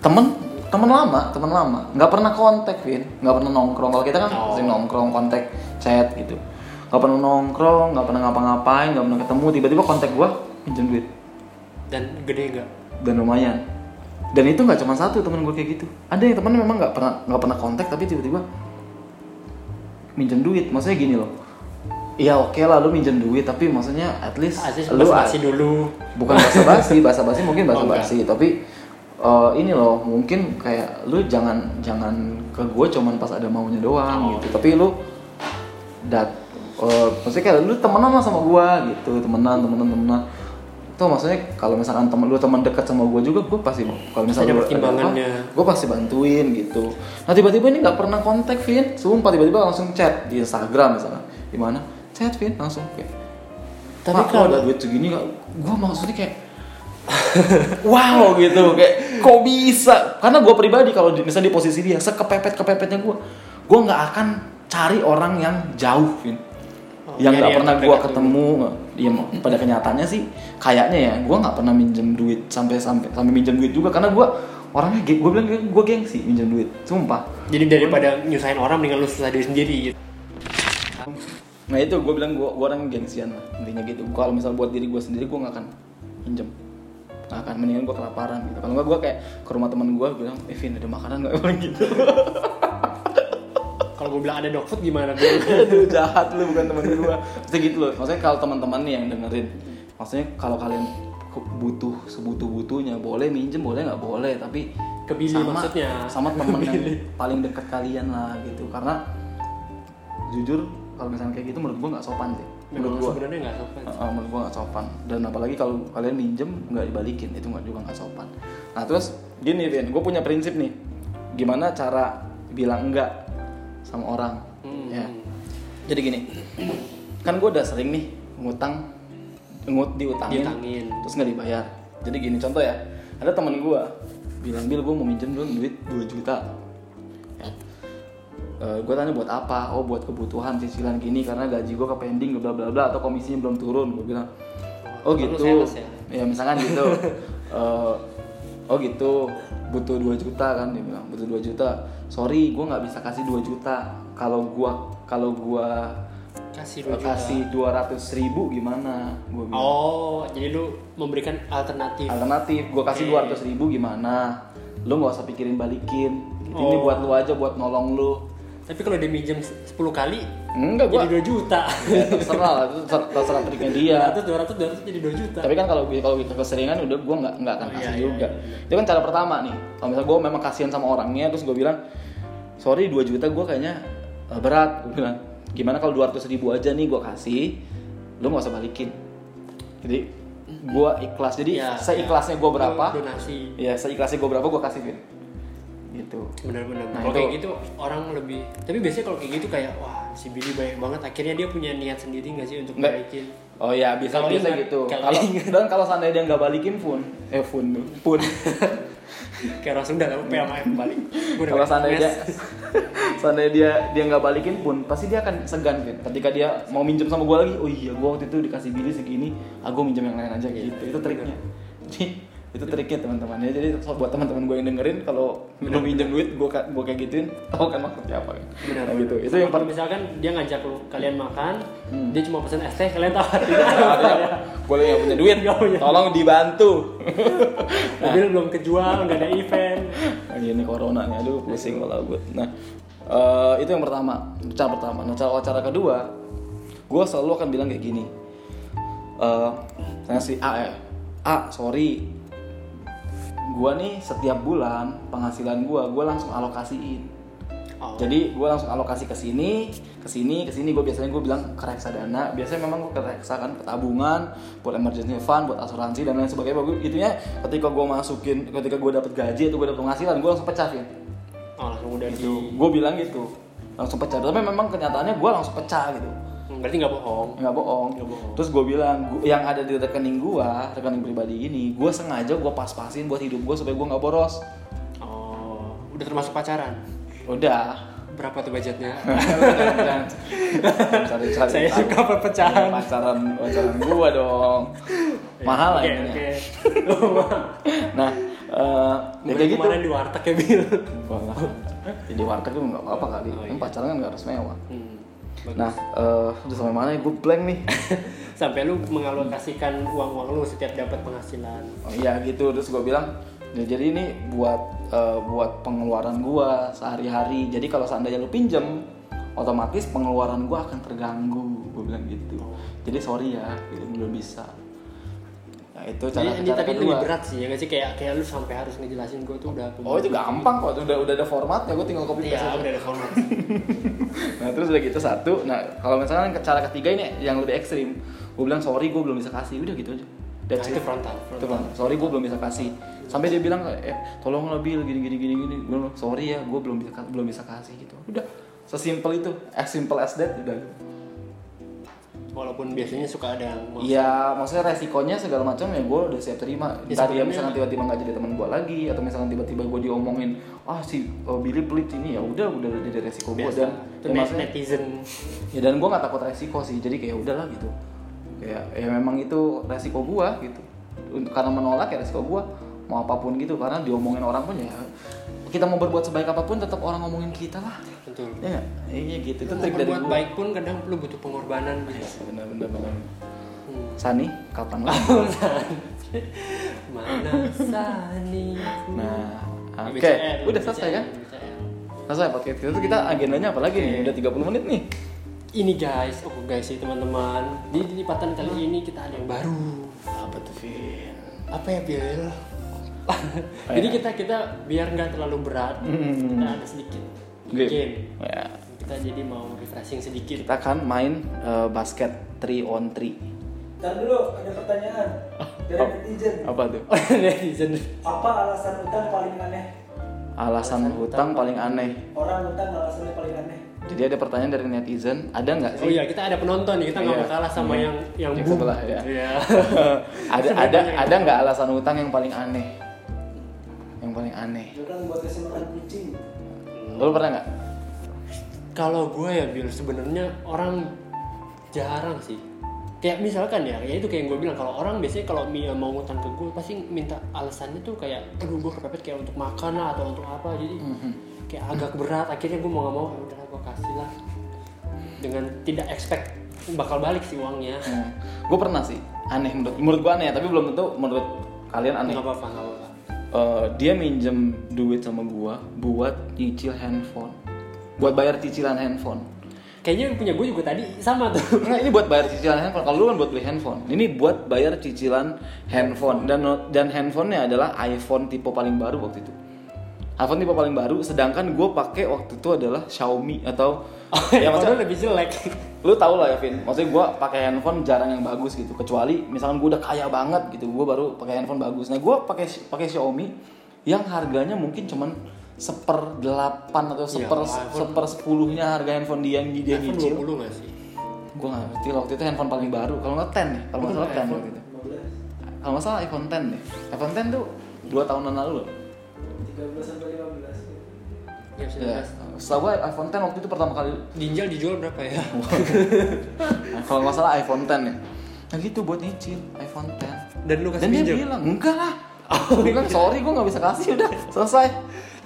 Speaker 2: temen temen lama, temen lama, nggak pernah kontak, Vin. Nggak pernah nongkrong. Kalau kita kan
Speaker 1: Oh.
Speaker 2: sering nongkrong, kontak, chat gitu. Nggak pernah nongkrong, nggak pernah ngapa-ngapain, nggak pernah ketemu. Tiba-tiba kontak gue pinjam duit
Speaker 1: dan gede enggak
Speaker 2: dan lumayan. Dan itu nggak cuma satu temen gue kayak gitu. Ada yang temennya memang nggak pernah nggak pernah kontak tapi tiba-tiba minjem duit. Maksudnya gini loh. Ya oke lah lu minjem duit tapi maksudnya at least
Speaker 1: asli
Speaker 2: lu
Speaker 1: lu masih dulu
Speaker 2: bukan bahasa basi
Speaker 1: (laughs)
Speaker 2: bahasa basi mungkin
Speaker 1: Oh,
Speaker 2: bahasa
Speaker 1: enggak.
Speaker 2: basi tapi eh, ini loh mungkin kayak lu jangan jangan ke gue cuman pas ada maunya
Speaker 1: Oh,
Speaker 2: doang gitu tapi lu dat eh, maksudnya kayak lu temenan lah sama gue gitu temenan temenan temenan itu maksudnya kalau misalkan temen lu teman dekat sama gue juga gue pasti kalau
Speaker 1: Ada
Speaker 2: misalnya lu
Speaker 1: pertimbangannya.
Speaker 2: gue pasti bantuin gitu nah tiba-tiba ini nggak pernah kontak Vin sumpah tiba-tiba langsung chat di Instagram misalnya di mana chat Vin langsung kayak
Speaker 1: Tapi
Speaker 2: tapi
Speaker 1: kalau-
Speaker 2: kalau ada duit segini gue maksudnya kayak (laughs) wow gitu kayak kok bisa karena gue pribadi kalau di, misalnya di posisi dia sekepepet kepepetnya gue gue nggak akan cari orang yang jauh Vin
Speaker 1: Oh,
Speaker 2: yang
Speaker 1: nyari
Speaker 2: nggak
Speaker 1: yang
Speaker 2: pernah gue
Speaker 1: terdekat
Speaker 2: ketemu ya pada kenyataannya sih kayaknya ya gue nggak pernah minjem duit sampai sampai sampai minjem duit juga karena gue orangnya gue bilang gue gengsi minjem duit sumpah
Speaker 1: jadi daripada nyusahin orang mendingan lu susah diri sendiri gitu.
Speaker 2: Nah itu gue bilang gue orang gengsian lah intinya gitu. Gua Kalau misal buat diri gue sendiri gue nggak akan pinjem, nggak akan mendingan gue kelaparan gitu. Kalau nggak gue kayak ke rumah teman gue bilang, eh Vin ada makanan nggak (laughs) orang gitu.
Speaker 1: kalau gue bilang ada dog food gimana gue
Speaker 2: Aduh jahat lu bukan teman gue. Maksudnya gitu loh. Maksudnya kalau teman-teman nih yang dengerin, maksudnya kalau kalian ke- butuh sebutuh butuhnya boleh minjem boleh nggak boleh tapi
Speaker 1: Kebili maksudnya.
Speaker 2: sama teman yang paling dekat kalian lah gitu karena jujur kalau misalnya kayak gitu menurut gua nggak sopan sih menurut
Speaker 1: memang
Speaker 2: gua
Speaker 1: sebenarnya nggak sopan
Speaker 2: Uh, uh, menurut gua nggak sopan dan apalagi kalau kalian minjem nggak dibalikin itu nggak juga nggak sopan nah terus gini Vin gue punya prinsip nih gimana cara bilang enggak sama orang
Speaker 1: Hmm.
Speaker 2: ya jadi gini (clears throat) kan gue udah sering nih ngutang ngut diutangin,
Speaker 1: Diutangin.
Speaker 2: terus nggak dibayar jadi gini contoh ya ada teman gue bilang bil gue mau minjem dong duit 2 juta ya. gue tanya buat apa oh buat kebutuhan cicilan gini karena gaji gue ke pending bla bla bla atau komisinya belum turun gue bilang oh
Speaker 1: Perlu
Speaker 2: gitu
Speaker 1: sales
Speaker 2: ya misalkan
Speaker 1: (laughs)
Speaker 2: gitu Eh, oh gitu butuh 2 juta kan dia bilang butuh 2 juta sorry gue nggak bisa kasih 2 juta kalau gua kalau gua
Speaker 1: kasih dua juta.
Speaker 2: kasih dua ratus ribu gimana gue bilang
Speaker 1: oh jadi lu memberikan alternatif
Speaker 2: alternatif gue kasih
Speaker 1: Oke.
Speaker 2: dua ratus ribu gimana lu nggak usah pikirin balikin Gitu, ini
Speaker 1: Oh.
Speaker 2: buat lu aja buat nolong lu
Speaker 1: tapi kalau dia minjem 10 kali
Speaker 2: enggak gue
Speaker 1: jadi 2 juta (laughs)
Speaker 2: ya, terserah lah itu ter- terserah triknya dia
Speaker 1: 200 200 200 jadi 2 juta
Speaker 2: tapi kan kalau gue kalau gue keseringan udah gue nggak nggak akan
Speaker 1: Oh,
Speaker 2: kasih
Speaker 1: iya, iya,
Speaker 2: juga itu kan cara pertama nih kalau misalnya gue memang kasihan sama orangnya terus gue bilang sorry 2 juta gue kayaknya eh, berat gue bilang gimana kalau 200 ribu aja nih gue kasih lu nggak usah balikin jadi gue ikhlas jadi
Speaker 1: Iya,
Speaker 2: seikhlasnya
Speaker 1: iya.
Speaker 2: gue berapa
Speaker 1: Lu donasi
Speaker 2: ya seikhlasnya gue berapa gue kasih Vin. gitu
Speaker 1: benar-benar
Speaker 2: Nah,
Speaker 1: kalau
Speaker 2: itu-
Speaker 1: kayak gitu orang lebih tapi biasanya kalau kayak gitu kayak wah si Billy banyak banget akhirnya dia punya niat sendiri nggak sih untuk
Speaker 2: Nggak.
Speaker 1: balikin
Speaker 2: Oh ya bisa
Speaker 1: Kalau
Speaker 2: bisa
Speaker 1: ingat,
Speaker 2: gitu.
Speaker 1: kalau
Speaker 2: Kalau (laughs) dan kalau seandainya dia nggak balikin pun, eh (laughs) pun pun.
Speaker 1: kayak langsung udah nggak apa-apa sama yang
Speaker 2: (laughs)
Speaker 1: balik Gua udah
Speaker 2: kalau
Speaker 1: balik.
Speaker 2: seandainya dia,
Speaker 1: Mes.
Speaker 2: (laughs) seandainya dia dia nggak balikin pun, pasti dia akan segan Vin. Ketika dia mau minjem sama gue lagi, oh iya gue waktu itu dikasih bili segini, ah gue minjem yang lain aja gitu. Itu triknya. Jadi itu triknya teman-teman ya. Jadi so- buat teman-teman gue yang dengerin kalau lu minjem duit gue gue kayak gituin, tau kan maksudnya apa kan?
Speaker 1: (laughs) Benar,
Speaker 2: Nah, gitu.
Speaker 1: Sama
Speaker 2: Itu yang Hmm.
Speaker 1: kalau
Speaker 2: paling
Speaker 1: misalkan dia ngajak lu kalian makan dia cuma pesan es teh kalian tahu
Speaker 2: (laughs)
Speaker 1: artinya apa ya?
Speaker 2: boleh yang punya duit,
Speaker 1: Nggak punya.
Speaker 2: tolong dibantu.
Speaker 1: mobil
Speaker 2: Nah.
Speaker 1: belum kejual nggak ada event
Speaker 2: Lagi ini corona nih, aduh pusing kepala gue. Nah, eh, itu yang pertama, cara pertama. Nah, cara cara kedua, gue selalu akan bilang kayak gini. Eh, tanya si A ya, A sorry, gue nih setiap bulan penghasilan gue, gue langsung alokasiin.
Speaker 1: Oh.
Speaker 2: Jadi gue langsung alokasi ke sini, ke sini, ke sini. Gue biasanya gue bilang ke reksadana. Biasanya memang gue ke reksa kan, ke tabungan, buat emergency fund, buat asuransi dan lain sebagainya. Gue itunya ketika gue masukin, ketika gue dapet gaji atau gue dapet penghasilan, gue langsung pecahin.
Speaker 1: oh, langsung udah di
Speaker 2: Gitu. Gue bilang gitu, langsung pecah. Tapi memang kenyataannya gue langsung pecah gitu.
Speaker 1: berarti nggak bohong
Speaker 2: Nggak bohong.
Speaker 1: Nggak bohong.
Speaker 2: Terus gue bilang "Gu- yang ada di rekening gue, rekening pribadi ini, gue sengaja gue pas-pasin buat hidup gue supaya gue nggak boros.
Speaker 1: oh udah termasuk pacaran
Speaker 2: Udah.
Speaker 1: berapa tuh budgetnya
Speaker 2: Cari-cari
Speaker 1: saya
Speaker 2: tahu. Iya,
Speaker 1: suka perpecahan Iya,
Speaker 2: pacaran pacaran gua dong mahal lah
Speaker 1: Oke,
Speaker 2: ininya.
Speaker 1: oke.
Speaker 2: nah eh, ya
Speaker 1: Beli
Speaker 2: kayak gitu
Speaker 1: kemarin di warteg ya Bil
Speaker 2: Wah, lah.
Speaker 1: (laughs)
Speaker 2: jadi warteg itu nggak apa-apa kali
Speaker 1: Oh, iya.
Speaker 2: Kan pacaran kan nggak harus mewah
Speaker 1: Hmm, bagus.
Speaker 2: nah eh, udah sampai mana ya gue blank nih
Speaker 1: sampai lu mengalokasikan uang-uang lu setiap dapat penghasilan
Speaker 2: oh iya gitu terus gue bilang "Ya, jadi ini buat eh, buat pengeluaran gua sehari-hari jadi kalau seandainya lu pinjem otomatis pengeluaran gua akan terganggu gue bilang gitu jadi sorry ya gitu, belum bisa nah, itu cara
Speaker 1: Jadi ini
Speaker 2: cara
Speaker 1: tapi
Speaker 2: kedua.
Speaker 1: lebih berat sih ya nggak sih kayak kayak lu sampai harus ngejelasin gue tuh udah
Speaker 2: Oh itu gampang kok, udah udah ada formatnya, gue tinggal copy paste.
Speaker 1: ya
Speaker 2: aja.
Speaker 1: udah ada
Speaker 2: (laughs)
Speaker 1: format
Speaker 2: Nah terus udah gitu satu, nah kalau misalnya ke- cara ketiga ini yang lebih ekstrim, gue bilang sorry gue belum bisa kasih, udah gitu aja.
Speaker 1: Nah,
Speaker 2: That's
Speaker 1: itu
Speaker 2: it.
Speaker 1: frontal
Speaker 2: Itu Bang. sorry gue belum bisa kasih. Sampai dia bilang eh tolong lebih gini gini gini gini, gue bilang sorry ya gue belum bisa ka- belum bisa kasih gitu. Udah sesimpel itu, as simple as that udah.
Speaker 1: walaupun biasanya suka ada yang mau-
Speaker 2: Iya, maksudnya resikonya segala macam ya gue udah siap terima.
Speaker 1: Ya,
Speaker 2: Entah dia
Speaker 1: sebenarnya-
Speaker 2: misalkan tiba-tiba nggak jadi teman gue lagi, atau misalkan tiba-tiba gue diomongin, ah si oh, Billy pelit ini ya udah udah jadi resiko gue
Speaker 1: biasa
Speaker 2: dan
Speaker 1: itu
Speaker 2: dan maksudnya-
Speaker 1: netizen
Speaker 2: ya dan gue nggak takut resiko sih jadi kayak udahlah gitu kayak ya memang itu resiko gue gitu untuk karena menolak ya resiko gue mau apapun gitu karena diomongin orang pun ya kita mau berbuat sebaik apapun tetap orang ngomongin kita lah
Speaker 1: betul
Speaker 2: ya nggak? iya gitu itu
Speaker 1: Lu mau
Speaker 2: trik dari Iya.
Speaker 1: berbuat
Speaker 2: gue
Speaker 1: baik pun kadang lu butuh pengorbanan gitu.
Speaker 2: bener bener bener
Speaker 1: Hmm.
Speaker 2: Sani kapan (laughs) lah
Speaker 1: Mana
Speaker 2: (laughs)
Speaker 1: Sani?
Speaker 2: nah oke
Speaker 1: BCL,
Speaker 2: udah selesai
Speaker 1: BCL,
Speaker 2: kan
Speaker 1: BCL.
Speaker 2: selesai podcast kita terus kita agendanya apa lagi nih udah 30 menit nih
Speaker 1: Ini guys, oh guys sih teman-teman. Di di lipatan kali ini kita ada yang baru.
Speaker 2: apa tuh Vin
Speaker 1: apa ya biaya lo? (laughs)
Speaker 2: ya?
Speaker 1: Jadi kita kita biar nggak terlalu berat, kita ada sedikit. Mungkin
Speaker 2: Ya.
Speaker 1: kita jadi mau refreshing sedikit. (laughs)
Speaker 2: Kita akan main eh, basket 3 on 3.
Speaker 4: Ntar dulu ada pertanyaan dari
Speaker 2: Ah.
Speaker 4: netizen.
Speaker 2: Apa tuh?
Speaker 1: Netizen.
Speaker 4: Apa alasan utang paling aneh?
Speaker 2: Alasan hutang paling aneh.
Speaker 4: Orang utang alasannya paling aneh.
Speaker 2: Jadi ada pertanyaan dari netizen, ada nggak
Speaker 1: oh
Speaker 2: sih?
Speaker 1: iya kita ada penonton nih, kita nggak
Speaker 2: Iya.
Speaker 1: mau kalah sama yang yang
Speaker 2: Yang
Speaker 1: boom.
Speaker 2: sebelah, ya.
Speaker 1: Iya.
Speaker 2: (laughs) ada ada ada nggak alasan hutang yang paling aneh? Yang paling aneh.
Speaker 4: Orang buat kasih makan kucing.
Speaker 2: Lo pernah nggak?
Speaker 1: Kalau gue ya Bill sebenarnya orang jarang sih. Kayak misalkan ya, ya itu kayak yang gue bilang kalau orang biasanya kalau mi- mau ngutang ke gue pasti minta alasannya tuh kayak aduh gue kepepet kayak untuk makan lah atau untuk apa jadi
Speaker 2: Mhm.
Speaker 1: kayak agak berat akhirnya gue mau nggak mau "Ya udah gue kasih lah dengan tidak expect bakal balik sih uangnya
Speaker 2: Kan. Gue Hmm. pernah sih. Aneh menurut menurut gue aneh, ya, tapi belum tentu menurut kalian aneh.
Speaker 1: nggak apa-apa nggak apa-apa
Speaker 2: Eh, dia minjem duit sama gua buat nyicil handphone, buat bayar cicilan handphone.
Speaker 1: kayaknya yang punya gue juga tadi sama tuh
Speaker 2: Nah, ini buat bayar cicilan handphone. Kalau lu kan buat beli handphone. Ini buat bayar cicilan handphone dan dan handphonenya adalah iPhone tipe paling baru waktu itu. iPhone tipe paling baru. Sedangkan gue pakai waktu itu adalah Xiaomi atau
Speaker 1: (laughs) ya
Speaker 2: (laughs) ya maksudnya
Speaker 1: lebih jelek
Speaker 2: lu tau lah ya Vin maksudnya gue pakai handphone jarang yang bagus gitu kecuali misalkan gue udah kaya banget gitu gue baru pakai handphone bagus nah gue pakai pakai Xiaomi yang harganya mungkin cuman seper delapan atau
Speaker 1: Iya,
Speaker 2: seper
Speaker 1: iPhone-
Speaker 2: seper sepuluhnya harga handphone dia yang dia
Speaker 1: iPhone
Speaker 2: nyicil
Speaker 1: 20 nggak sih
Speaker 2: gue nggak ngerti lah, waktu itu handphone paling baru kalau nggak 10 nih kalau nggak salah 10 waktu itu
Speaker 4: 15,
Speaker 2: kalau nggak salah iPhone 10 deh iPhone 10 tuh dua tahunan lalu loh
Speaker 4: 13 sampai 15.
Speaker 1: ya,
Speaker 2: ya,
Speaker 1: 19.
Speaker 2: setelah gue iPhone 10 waktu itu pertama kali
Speaker 1: ginjal dijual berapa ya
Speaker 2: Nah, kalau nggak salah iPhone 10 ya nah gitu buat nyicil iPhone 10
Speaker 1: dan lu kasih Oh, iya.
Speaker 2: Dan dia
Speaker 1: pinjam?
Speaker 2: bilang, enggak lah. Gue bilang, sorry gue gak bisa kasih, udah selesai.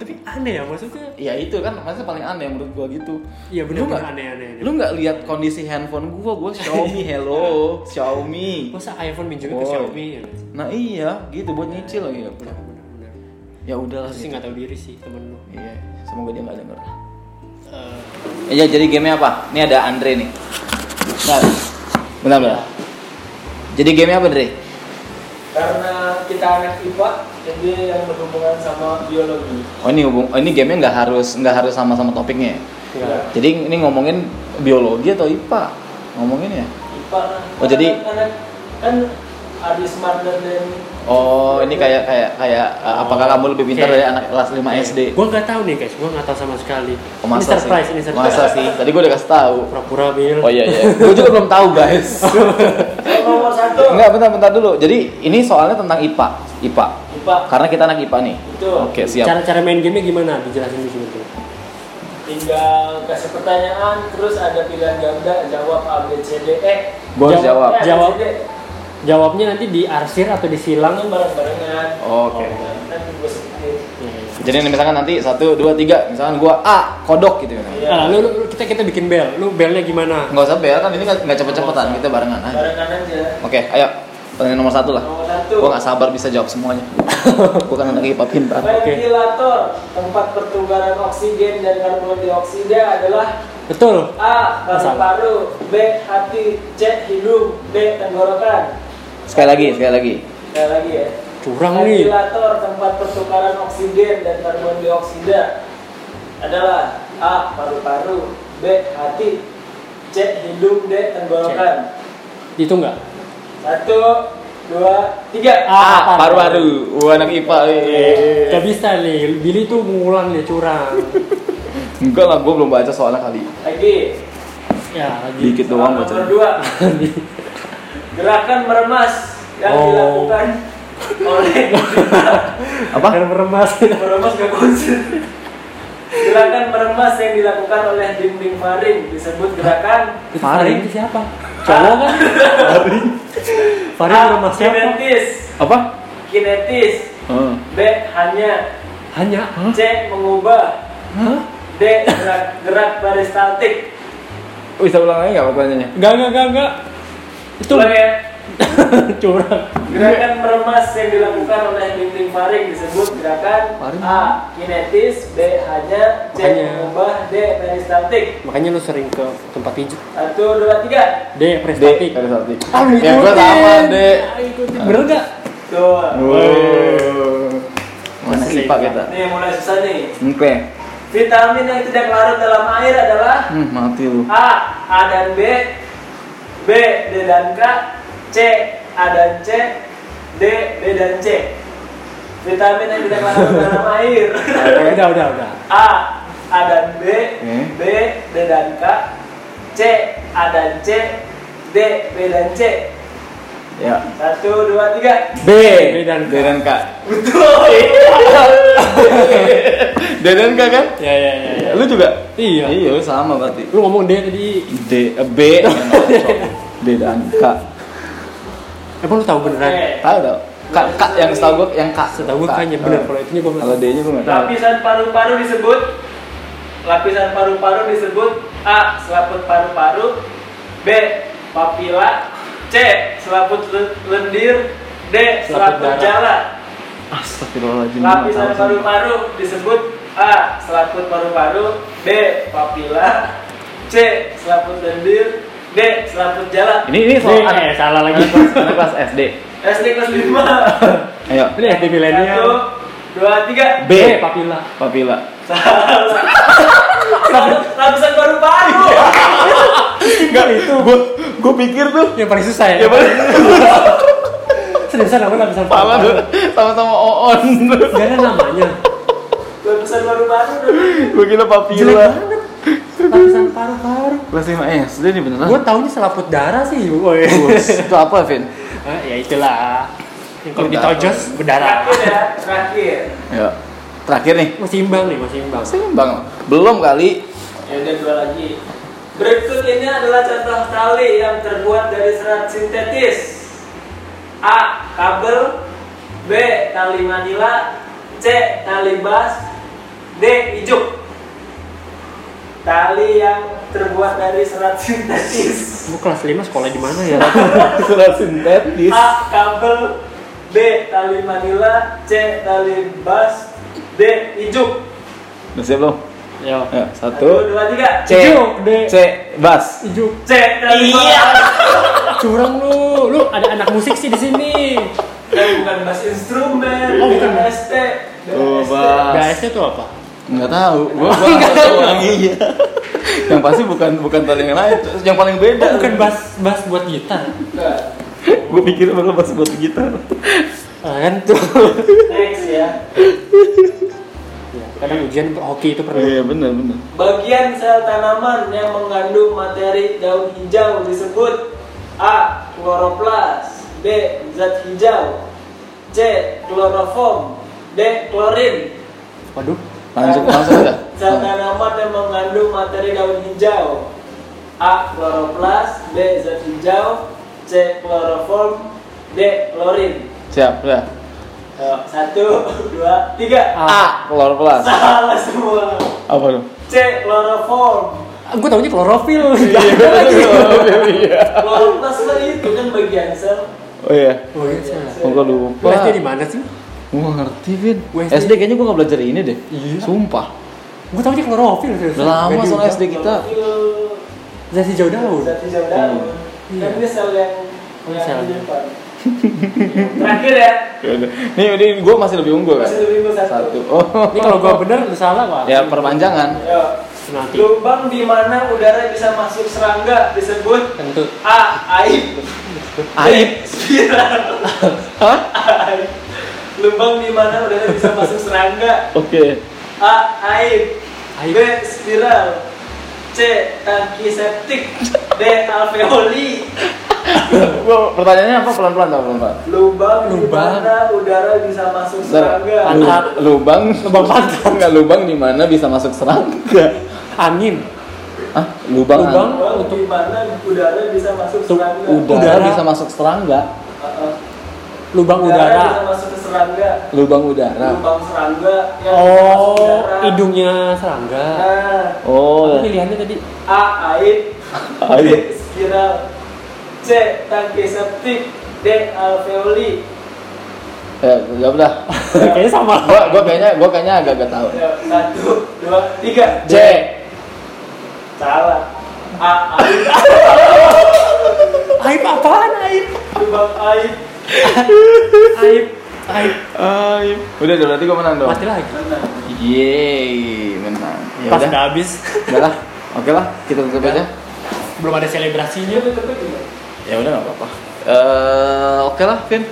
Speaker 1: tapi aneh ya maksudnya
Speaker 2: Ya itu kan, maksudnya paling aneh menurut gue gitu.
Speaker 1: Iya, bener,
Speaker 2: Lu nggak-
Speaker 1: bener, aneh, aneh, aneh.
Speaker 2: Lu gak lihat kondisi handphone gue, gue Xiaomi, hello, Xiaomi.
Speaker 1: masa iPhone minjemnya ke
Speaker 2: Woi.
Speaker 1: Xiaomi ya
Speaker 2: Nah iya, gitu buat nyicil ya.
Speaker 1: benar benar benar
Speaker 2: Ya udahlah
Speaker 1: sih
Speaker 2: gitu.
Speaker 1: nggak tahu diri sih temen lu
Speaker 2: Iya, semoga dia gak denger.
Speaker 1: Eh,
Speaker 2: Ya jadi gamenya apa? Ini ada Andre nih. Bentar, bentar, bentar. Jadi gamenya apa, Dre?
Speaker 4: Karena kita anak IPA, jadi yang berhubungan sama biologi.
Speaker 2: Oh ini hubung, oh, ini gamenya nggak harus nggak harus sama-sama topiknya ya?
Speaker 4: Nah,
Speaker 1: ya.
Speaker 2: Jadi ini ngomongin biologi atau IPA? Ngomongin ya?
Speaker 4: IPA lah.
Speaker 2: Oh, jadi-
Speaker 4: anak kan ada smarter dan
Speaker 2: Oh, ini kayak kayak kayak uh, apakah kamu lebih pintar
Speaker 1: Oke.
Speaker 2: dari anak kelas 5 SD?
Speaker 1: Gue nggak tahu nih guys, gue nggak tahu sama sekali.
Speaker 2: Oh, masa
Speaker 1: ini surprise,
Speaker 2: sih?
Speaker 1: ini surprise.
Speaker 2: Masa sih? Tadi gue udah kasih tahu.
Speaker 1: Pura-pura bil.
Speaker 2: Oh iya iya. gue juga belum tahu, guys.
Speaker 4: nomor satu
Speaker 2: Enggak, bentar bentar dulu. Jadi ini soalnya tentang IPA. IPA.
Speaker 4: IPA.
Speaker 2: Karena kita anak IPA nih.
Speaker 4: Itu
Speaker 2: Oke, siap.
Speaker 1: Cara-cara main gamenya gimana? Dijelasin dulu sebetulnya.
Speaker 4: tinggal kasih pertanyaan, terus ada pilihan ganda, jawab A B C D E.
Speaker 2: Gua harus jawab. Iya,
Speaker 4: Eh, A, B, C,
Speaker 1: Jawab.
Speaker 4: D.
Speaker 1: Jawabnya nanti diarsir atau disilang.
Speaker 4: Langsung bareng-barengan.
Speaker 2: Oke.
Speaker 4: Kan gue sedikit.
Speaker 2: Jadi ini misalkan nanti 1 2 3, misalkan gua A, kodok gitu misalkan.
Speaker 4: Iya.
Speaker 1: Nah, lu, lu- lu- kita kita bikin bel. Lu belnya gimana?
Speaker 2: Enggak usah bel kan ini nggak nggak cepet-cepetan, kita barengan aja.
Speaker 4: Barengan aja.
Speaker 2: Oke, ayo. Pertanyaan nomor satu lah.
Speaker 4: Nomor satu.
Speaker 2: Gue gak sabar bisa jawab semuanya. (laughs) gue kan anak IPA pintar.
Speaker 4: Ventilator, tempat pertukaran oksigen dan karbon dioksida adalah
Speaker 1: Betul.
Speaker 4: A.
Speaker 1: Masalah.
Speaker 4: Paru-paru B. Hati C. Hidung D. Tenggorokan
Speaker 2: Sekali lagi, sekali lagi.
Speaker 4: Ada lagi ya
Speaker 1: Curang nih.
Speaker 2: Iya.
Speaker 4: Ventilator tempat pertukaran oksigen dan karbon dioksida adalah A. Paru-paru B. Hati C. Hidung D. Tenggorokan
Speaker 1: Itu enggak?
Speaker 4: Satu Dua
Speaker 1: Ah,
Speaker 4: Tiga
Speaker 2: A, paru-paru. Wah, anak IPA. eh.
Speaker 1: Gak bisa nih. Billy tuh ngulang dia
Speaker 2: (laughs)
Speaker 1: curang.
Speaker 2: Enggak lah, gue belum baca soalnya kali.
Speaker 4: Lagi
Speaker 1: ya gitu. lagi.
Speaker 2: Dikit doang
Speaker 4: Nomor
Speaker 2: baca.
Speaker 4: dua Gerakan meremas yang
Speaker 1: Oh.
Speaker 4: dilakukan oleh
Speaker 2: Apa?
Speaker 1: Dan meremas.
Speaker 4: meremas gak konsen gerakan meremas yang dilakukan oleh dinding faring disebut gerakan
Speaker 1: Itu
Speaker 2: Faring.
Speaker 1: Faring siapa? Cowok kan? Faring. Faring
Speaker 4: A.
Speaker 1: meremas siapa?
Speaker 4: kinetis
Speaker 2: Apa?
Speaker 4: kinetis
Speaker 2: Heeh.
Speaker 4: B. hanya
Speaker 1: Hanya.
Speaker 4: C. mengubah
Speaker 1: Hah?
Speaker 4: D. gerak gerak peristatik
Speaker 2: Bisa ulang lagi nggak pertanyaannya?
Speaker 1: Enggak, enggak, enggak, enggak. Itu
Speaker 4: Ulang ya
Speaker 1: (laughs) curang.
Speaker 4: gerakan meremas yang dilakukan oleh dinding faring disebut gerakan
Speaker 2: Faring.
Speaker 4: A. kinetis B. hanya C.
Speaker 1: Makanya.
Speaker 4: mengubah D. peristatik
Speaker 1: Makanya lu sering ke tempat pijet.
Speaker 4: satu dua tiga
Speaker 1: D,
Speaker 2: D,
Speaker 1: prestatik.
Speaker 2: dari satu.
Speaker 1: Ah, lu
Speaker 2: Ya, gue
Speaker 1: ikutin.
Speaker 2: sama, D.
Speaker 1: Ah, ikutin. Bener enggak?
Speaker 4: Betul.
Speaker 2: Masih
Speaker 1: Masih
Speaker 2: IPA
Speaker 1: IPA.
Speaker 2: kita.
Speaker 4: Nih mulai susah nih.
Speaker 2: Oke.
Speaker 4: Vitamin yang tidak larut dalam air adalah
Speaker 2: Hmm, mati lu.
Speaker 4: A. A dan B B. D dan K C. A dan C D. B dan C Vitamin yang tidak larut dalam air
Speaker 1: udah udah udah
Speaker 4: A. A dan B
Speaker 2: Oke.
Speaker 4: B. D dan K C. A dan C D. B dan C
Speaker 2: Ya.
Speaker 4: Satu, dua, tiga
Speaker 2: B.
Speaker 1: B dan K.
Speaker 2: D (laughs) dan K.
Speaker 4: Betul
Speaker 2: D dan K kan?
Speaker 1: ya ya ya, ya.
Speaker 2: Lu juga?
Speaker 1: Iya.
Speaker 2: Iya, lu sama berarti.
Speaker 1: lu ngomong dia tadi
Speaker 2: D eh, B (laughs) D dan K.
Speaker 1: emang lu tahu beneran
Speaker 4: Oke.
Speaker 2: Tahu tau? K, K yang setahu gua yang K.
Speaker 1: setahu gue
Speaker 2: K.
Speaker 1: kayaknya bener
Speaker 2: Eh,
Speaker 1: kalau itunya gue
Speaker 2: Kalau D-nya gua enggak tahu.
Speaker 4: Lapisan paru-paru disebut Lapisan paru-paru disebut A. Selaput paru-paru B. Papila C. Selaput le- lendir D. Selaput
Speaker 1: Selaput darah.
Speaker 4: jala
Speaker 2: Astagfirullahaladzim.
Speaker 4: Lapisan
Speaker 2: gua nggak tahu sih.
Speaker 4: paru-paru disebut A. Selaput paru-paru B. Papila C. Selaput lendir D. Selaput jala
Speaker 2: Ini ini soal anak
Speaker 1: eh salah lagi (laughs)
Speaker 2: anak kelas SD.
Speaker 4: SD kelas 5
Speaker 2: Ayo.
Speaker 1: ini SD
Speaker 4: Satu,
Speaker 1: milenial
Speaker 4: dua, tiga
Speaker 2: B.
Speaker 1: Eh, papila
Speaker 2: Papila.
Speaker 4: Lapisan paru-paru
Speaker 2: Enggak itu. Gua gua pikir tuh
Speaker 1: yang paling susah ya,
Speaker 2: ya paling
Speaker 1: seriusan apa lapisan
Speaker 2: pala
Speaker 1: paru-paru?
Speaker 2: tuh sama-sama oon.
Speaker 1: Gak ada namanya
Speaker 4: Lapisan paru-paru
Speaker 2: Gua kira
Speaker 1: jelek
Speaker 2: papila.
Speaker 1: banget lapisan paru-paru
Speaker 2: Kelas 5 SD nih beneran.
Speaker 1: gue taunya selaput darah sih woi
Speaker 2: Bus. Itu apa, Vin?
Speaker 1: Ah, ya itulah yang kalau
Speaker 2: Berdarah.
Speaker 1: ditojos berdarah
Speaker 4: Terakhir ya, terakhir
Speaker 2: Ya. Terakhir nih.
Speaker 1: masih imbang nih masih imbang
Speaker 2: Seimbang. Belum kali. (laughs)
Speaker 4: Ya udah dua lagi Berikut ini adalah contoh tali yang terbuat dari serat sintetis A. Kabel B. Tali Manila C. Tali bas D. Ijuk Tali yang terbuat dari serat sintetis
Speaker 1: gue kelas 5 sekolah di mana ya
Speaker 2: Surat sintetis.
Speaker 4: A. Kabel B. Tali Manila C. Tali bas D. Ijuk
Speaker 2: Udah siap belum?
Speaker 1: ya
Speaker 2: Ya,
Speaker 4: Satu,
Speaker 2: satu.
Speaker 4: dua, tiga
Speaker 2: C.
Speaker 1: Ijuk, D.
Speaker 2: C. Bas.
Speaker 1: ijuk
Speaker 4: C. Tali
Speaker 1: Iya.
Speaker 4: Manila
Speaker 1: curang lu lu ada anak musik sih di sini
Speaker 4: Eh, bukan bass instrumen
Speaker 1: Oh, bukan.
Speaker 4: BST
Speaker 2: Tuh,
Speaker 4: BST.
Speaker 2: Oh, Bas.
Speaker 1: BAS-nya tuh apa
Speaker 2: Enggak tahu. Gua gua nggak tahu orang iya. Yang pasti bukan bukan paling lain, yang paling
Speaker 1: oh,
Speaker 2: beda.
Speaker 1: bukan bass bass buat gitar
Speaker 4: Nah,
Speaker 2: Gua pikir bakal pas buat gitar.
Speaker 1: Ah, kan (laughs) tuh
Speaker 4: next ya
Speaker 1: Ya, kadang ujian hoki itu perlu
Speaker 2: Iya, benar benar.
Speaker 4: bagian sel tanaman yang mengandung materi daun hijau disebut A. Kloroplas B. Zat hijau C. Kloroform D. Klorin
Speaker 1: waduh
Speaker 2: Langsung langsung udah.
Speaker 4: Sel tanaman yang mengandung materi daun hijau A. Kloroplas B. Zat hijau C. Kloroform D. Klorin
Speaker 2: Siap, udah.
Speaker 4: Ayo, Satu, dua, tiga
Speaker 2: A, kloroplas.
Speaker 4: Salah semua.
Speaker 2: Apa dong?
Speaker 4: C. Kloroform.
Speaker 1: gue Ah, taunya klorofil
Speaker 2: (laughs)
Speaker 1: (laughs)
Speaker 2: (laughs) Iya, iya.
Speaker 4: Kloroplas lah itu kan bagian sel.
Speaker 2: Oh iya.
Speaker 1: oh iya salah
Speaker 2: Kok gua lupa?
Speaker 1: USD di mana sih
Speaker 2: Gua ngerti, Vin.
Speaker 1: USD.
Speaker 2: SD kayaknya gua nggak belajar ini deh.
Speaker 1: Iya.
Speaker 2: Sumpah.
Speaker 1: gue taunya klorofil serius.
Speaker 2: Udah lama
Speaker 1: Gak
Speaker 2: soal
Speaker 1: diubah.
Speaker 2: SD kita.
Speaker 1: zat hijau daun
Speaker 4: Zat hijau daun. Kan
Speaker 1: Iya.
Speaker 4: dia sel yang
Speaker 1: Oh,
Speaker 4: yang
Speaker 1: sel.
Speaker 4: di depan. (laughs) Terakhir ya.
Speaker 2: Ya udah. Nih, ini gua masih lebih unggul kan.
Speaker 4: Masih lebih ke
Speaker 2: Satu.
Speaker 4: satu.
Speaker 2: Oh.
Speaker 1: ini kalau gue bener lu salah pak
Speaker 2: Ya perpanjangan.
Speaker 4: Ayo.
Speaker 1: nanti
Speaker 4: Lubang di mana udara bisa masuk serangga disebut
Speaker 1: tentu
Speaker 4: A. Aib.
Speaker 2: Aib.
Speaker 4: B. (laughs) Spiral.
Speaker 2: Hah?
Speaker 4: Aib. Lubang di mana udara bisa masuk serangga
Speaker 2: Oke.
Speaker 4: A. Aib
Speaker 1: Aib.
Speaker 4: B. Spiral C. Tangki septik D. Alveoli
Speaker 2: Gua pertanyaannya apa pelan-pelan dong, pelan-pelan.
Speaker 4: Lubang, di
Speaker 1: Lubang.
Speaker 4: mana udara bisa masuk
Speaker 2: Bentar.
Speaker 4: serangga
Speaker 2: Lu- lubang lubang pantat enggak lubang di mana bisa masuk serangga
Speaker 1: angin
Speaker 2: ah
Speaker 1: Lubang.
Speaker 2: lubang,
Speaker 4: Lubang di mana udara bisa masuk
Speaker 1: Tuh,
Speaker 4: serangga
Speaker 2: udara,
Speaker 1: Udara.
Speaker 2: bisa masuk serangga
Speaker 4: Uh-uh.
Speaker 1: lubang
Speaker 4: Udara bisa
Speaker 1: udara
Speaker 4: masuk ke serangga
Speaker 2: lubang udara
Speaker 4: Lubang serangga yang masuk
Speaker 1: oh
Speaker 4: udara.
Speaker 1: hidungnya serangga
Speaker 4: Nah,
Speaker 1: Apa
Speaker 2: oh iya.
Speaker 1: pilihannya tadi
Speaker 4: A. Aib B.
Speaker 2: aib
Speaker 4: Spiral C. Tangki septik D. Alveoli
Speaker 2: ya jawab dah
Speaker 1: kayaknya sama
Speaker 2: (laughs) gua gua kayaknya gua kayaknya agak-agak tahu
Speaker 4: Ayo, Satu, dua, tiga
Speaker 2: C
Speaker 4: Salah. A aib,
Speaker 1: aib apaan aib
Speaker 4: lubang aib.
Speaker 1: Aib, aib.
Speaker 2: Ay, udah udah, berarti gue menang dong.
Speaker 1: Mati lagi.
Speaker 4: Benar.
Speaker 2: Yeay, menang. Ya
Speaker 1: Pas
Speaker 2: udah,
Speaker 1: udah habis,
Speaker 2: udah lah. Oke lah, kita tutup aja.
Speaker 1: belum ada selebrasinya.
Speaker 2: Ya udah nggak apa-apa. Eh, oke lah, Vin.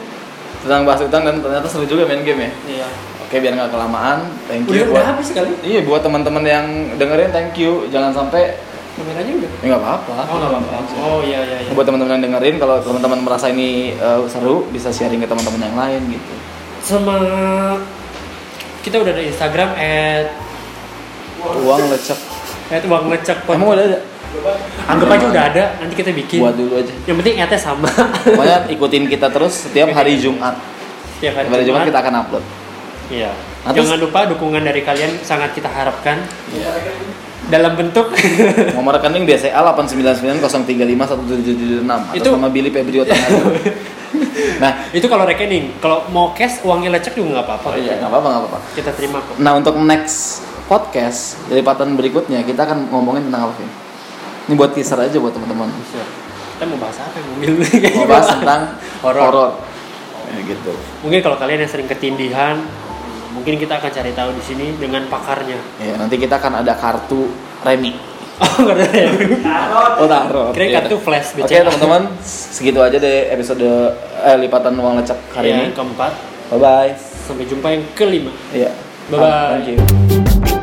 Speaker 2: Tentang bahas utang dan ternyata seru juga main game ya.
Speaker 1: Iya.
Speaker 2: Oke, biar nggak kelamaan. Thank
Speaker 1: Udah,
Speaker 2: you
Speaker 1: udah
Speaker 2: buat.
Speaker 1: habis kali.
Speaker 2: Iya, buat teman-teman yang dengerin, thank you. Jangan sampai
Speaker 1: Kameranya udah.
Speaker 2: ya nggak apa-apa.
Speaker 1: Oh, nggak apa-apa. Oh, iya, iya, iya.
Speaker 2: Buat teman-teman yang dengerin, kalau teman-teman merasa ini eh, seru, bisa sharing ke teman-teman yang lain gitu.
Speaker 1: Sama kita udah ada Instagram at
Speaker 2: Uang lecek.
Speaker 1: at uang ngecek Pod.
Speaker 2: Emang udah ada?
Speaker 1: anggap aja udah ada nanti kita bikin
Speaker 2: Buat dulu aja.
Speaker 1: yang penting at sama (laughs)
Speaker 2: Pokoknya ikutin kita terus setiap hari Jumat.
Speaker 1: ya
Speaker 2: Setiap hari Jumat kita akan upload.
Speaker 1: Iya.
Speaker 2: Atau- Iya.
Speaker 1: Jangan lupa dukungan dari kalian sangat kita harapkan dalam bentuk (laughs)
Speaker 2: Nomor rekening BCA 89903517776 atau
Speaker 1: Itu-
Speaker 2: sama Billy Febrio
Speaker 1: (laughs)
Speaker 2: Tanah. nah,
Speaker 1: itu kalau rekening. Kalau mau cash uangnya lecek juga nggak apa-apa.
Speaker 2: oh iya nggak apa-apa nggak apa-apa.
Speaker 1: Kita terima kok.
Speaker 2: Nah untuk next podcast lipatan berikutnya kita akan ngomongin tentang apa Vin? Ini buat teaser aja buat teman-teman.
Speaker 1: Kita mau bahas apa? ya? Mobil (laughs) Kayaknya
Speaker 2: Iya. Mau bahas tentang
Speaker 1: Horor. Iya,
Speaker 2: horor. Ya, gitu.
Speaker 1: Mungkin kalau kalian yang sering ketindihan, mungkin kita akan cari tahu di sini dengan pakarnya. (laughs)
Speaker 2: Ya, nanti kita akan ada kartu remi.
Speaker 1: Oh, nggak ada ya?
Speaker 4: Tarot.
Speaker 2: Oh, taruh.
Speaker 1: Kira
Speaker 2: Ya,
Speaker 1: kartu
Speaker 2: udah.
Speaker 1: flash
Speaker 2: Oke teman-teman, segitu aja deh episode eh, lipatan uang lecek
Speaker 1: Hari
Speaker 2: hari ini.
Speaker 1: yang keempat,
Speaker 2: Bye bye.
Speaker 1: sampai jumpa yang kelima.
Speaker 2: Iya.
Speaker 1: Bye-bye.
Speaker 2: Thank you.